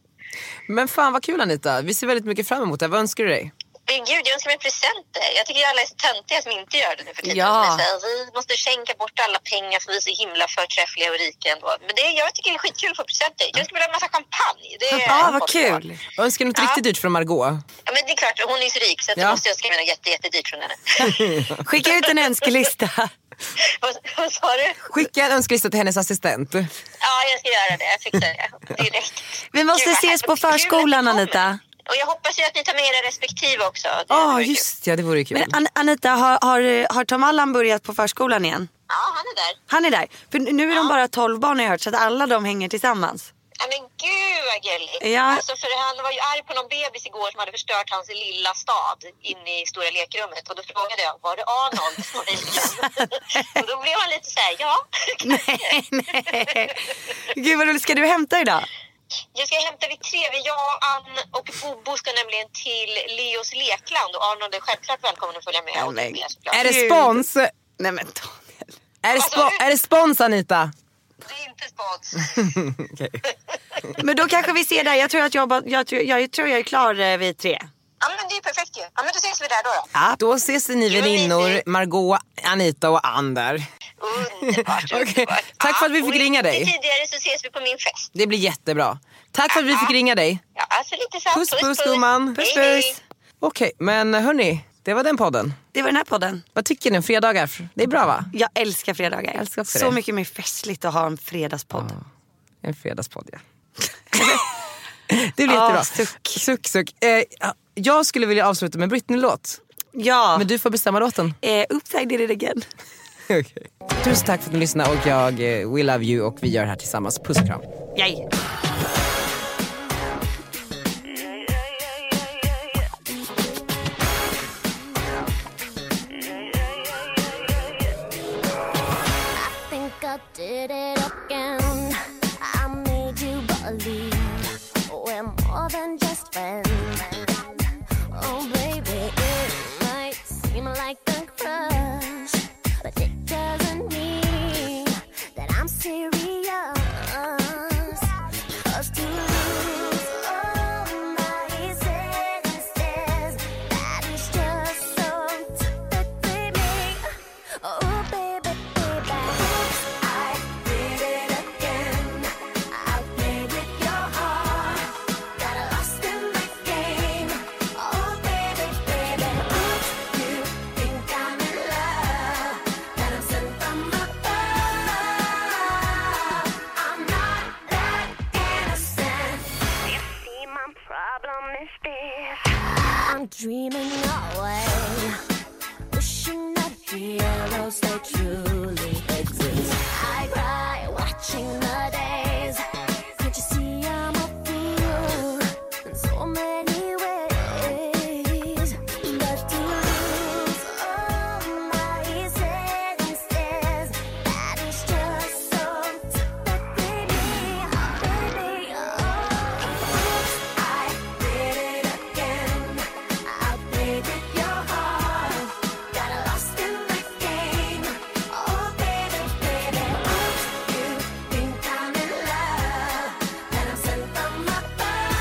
Speaker 3: Men fan vad kul Anita, vi ser väldigt mycket fram emot det här. Vad önskar du dig?
Speaker 5: Men gud, jag önskar mig presenter. Jag tycker ju alla är så töntiga som inte gör det nu för tiden.
Speaker 2: Ja.
Speaker 5: De är såhär, vi måste skänka bort alla pengar för vi är så himla förträffliga och rika ändå. Men det, jag tycker det är skitkul att få presenter. Jag skulle vilja ha en massa champagne. Det är
Speaker 2: Ja, vad
Speaker 5: folk
Speaker 2: kul.
Speaker 3: Önskar du något
Speaker 5: Ja.
Speaker 3: riktigt dyrt från Margot?
Speaker 5: Ja, men det är klart, hon är ju så rik så att
Speaker 3: Ja.
Speaker 5: då måste jag skriva något jätte, jättedyrt från henne.
Speaker 2: Skicka ut en önskelista.
Speaker 5: vad, vad sa du?
Speaker 3: Skicka en önskelista till hennes assistent.
Speaker 5: Ja, jag ska göra det. Jag fixar det direkt.
Speaker 2: Vi måste
Speaker 5: Gud, vad
Speaker 2: ses på
Speaker 5: härligt. Kul att du
Speaker 2: förskolan
Speaker 5: kommer.
Speaker 2: Anita.
Speaker 5: Och jag hoppas ju att ni tar med er respektive också. Det
Speaker 3: Ja,
Speaker 5: vore kul.
Speaker 3: Ah, just ja, det vore kul.
Speaker 2: Men An- Anita, har, har, har Tom Allan börjat på förskolan igen?
Speaker 5: Ja, han är där.
Speaker 2: Han är där. För nu är de bara 12 barn har jag hört så att alla de hänger tillsammans.
Speaker 5: Ja, men gud vad gulligt!
Speaker 2: Ja.
Speaker 5: Alltså, för han var ju arg på någon bebis igår som hade förstört hans lilla stad inne i stora lekrummet och då frågade jag, var det Arnold? på bilen?" och då blev han lite så här, ja.
Speaker 2: Nej, nej. Gud vad roligt. Ska du hämta idag?
Speaker 5: Jag ska hämta vi tre, vi, jag, Ann och Bobo ska nämligen till Leos lekland och Arnold är självklart välkommen att följa med.
Speaker 2: Ja,
Speaker 5: och
Speaker 2: men-
Speaker 5: med såklart.
Speaker 3: Är det
Speaker 2: Gud.
Speaker 3: spons?
Speaker 2: Nej men Daniel.
Speaker 3: Är det, spo- är det spons Anita?
Speaker 5: Det är inte spons.
Speaker 2: Men då kanske vi ser där. Jag tror att jag, bara- jag, tror- jag, tror jag är klar eh, vid tre.
Speaker 5: Ja, men det är ju perfekt ju. Ja, men då ses vi där då. då.
Speaker 3: Då ses ni väninnor, Margot, Anita och Ann där.
Speaker 5: Underbart,
Speaker 3: Okej.
Speaker 5: underbart.
Speaker 3: Tack för att vi
Speaker 5: Ja,
Speaker 3: fick
Speaker 5: och
Speaker 3: ringa dig.
Speaker 5: Lite tidigare så ses vi på min fest.
Speaker 3: Det blir jättebra. Tack för att vi fick ringa dig.
Speaker 5: Ja, alltså lite så. här,
Speaker 3: Puss puss gumman.
Speaker 5: Hej, hej.
Speaker 3: Okej, men hörni, det var den podden.
Speaker 2: Det var den här podden.
Speaker 3: Vad tycker ni om fredagar? Det är bra va?
Speaker 2: Jag älskar fredagar.
Speaker 3: Jag älskar också
Speaker 2: så
Speaker 3: det.
Speaker 2: mycket mer festligt att ha en fredagspodd.
Speaker 3: En fredagspodd ja. det blir
Speaker 2: Ah,
Speaker 3: jättebra.
Speaker 2: suck.
Speaker 3: Suck, suck. Eh, jag skulle vilja avsluta med Britney-låt.
Speaker 2: Ja,
Speaker 3: Men du får bestämma låten.
Speaker 2: eh, upside did it again.
Speaker 3: Tusen tack för att ni lyssnade och jag, eh, we love you och vi gör det här tillsammans. Puss och kram.
Speaker 2: Yay.
Speaker 6: think I did it again. I made you believe we're more than just friends. Oh, baby, it might seem like a crush, but it doesn't mean that I'm serious. 'Cause to lose all my senses, that is just so typically me. Oh, baby, baby. I did it again. I played with your heart. Got lost in my game. Oh, baby, baby. Oops, you think I'm in love. That I'm sent from above. I'm not that innocent.
Speaker 7: You see, my problem is this.
Speaker 6: I'm dreaming away. wishing that heroes they truly exist. I cry watching the days. Can't you see I'm a fool in so many ways? But to lose all my senses, that is just so typically me, baby. Oh, I did it again. I played with your heart. Got lost in the game. Oh, baby, baby. Oops, you think I'm in love. That I'm sent from above.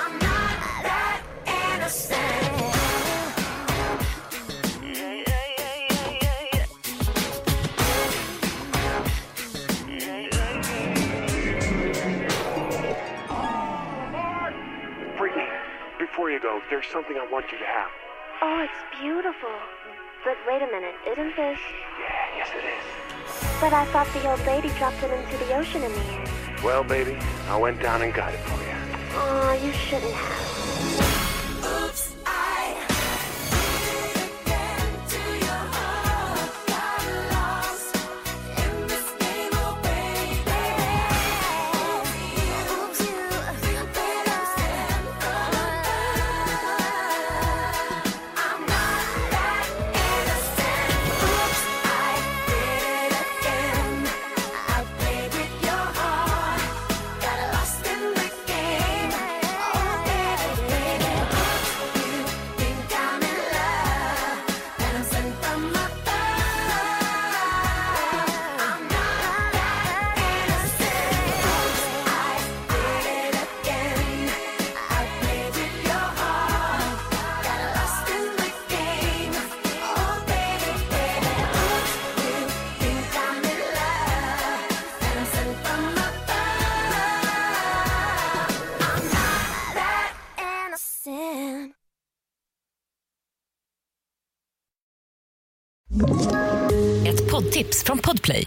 Speaker 6: I'm not that innocent.
Speaker 8: Brittany, before you go, there's something I want you to have.
Speaker 7: Oh, it's beautiful. But wait a minute, isn't this?
Speaker 8: Yeah, yes it
Speaker 7: But I thought the old lady dropped him into the ocean in the end.
Speaker 8: is. Well, baby, I went down and got it for you.
Speaker 7: Oh, you shouldn't have.
Speaker 6: Oops, I did it again to your heart. Got lost in this game, oh baby. Oops, you think that I'm sent from above. I'm not that innocent. Oops, I did it again. I played with your heart. Got lost in the game, oh baby.
Speaker 9: Ett poddtips från Podplay.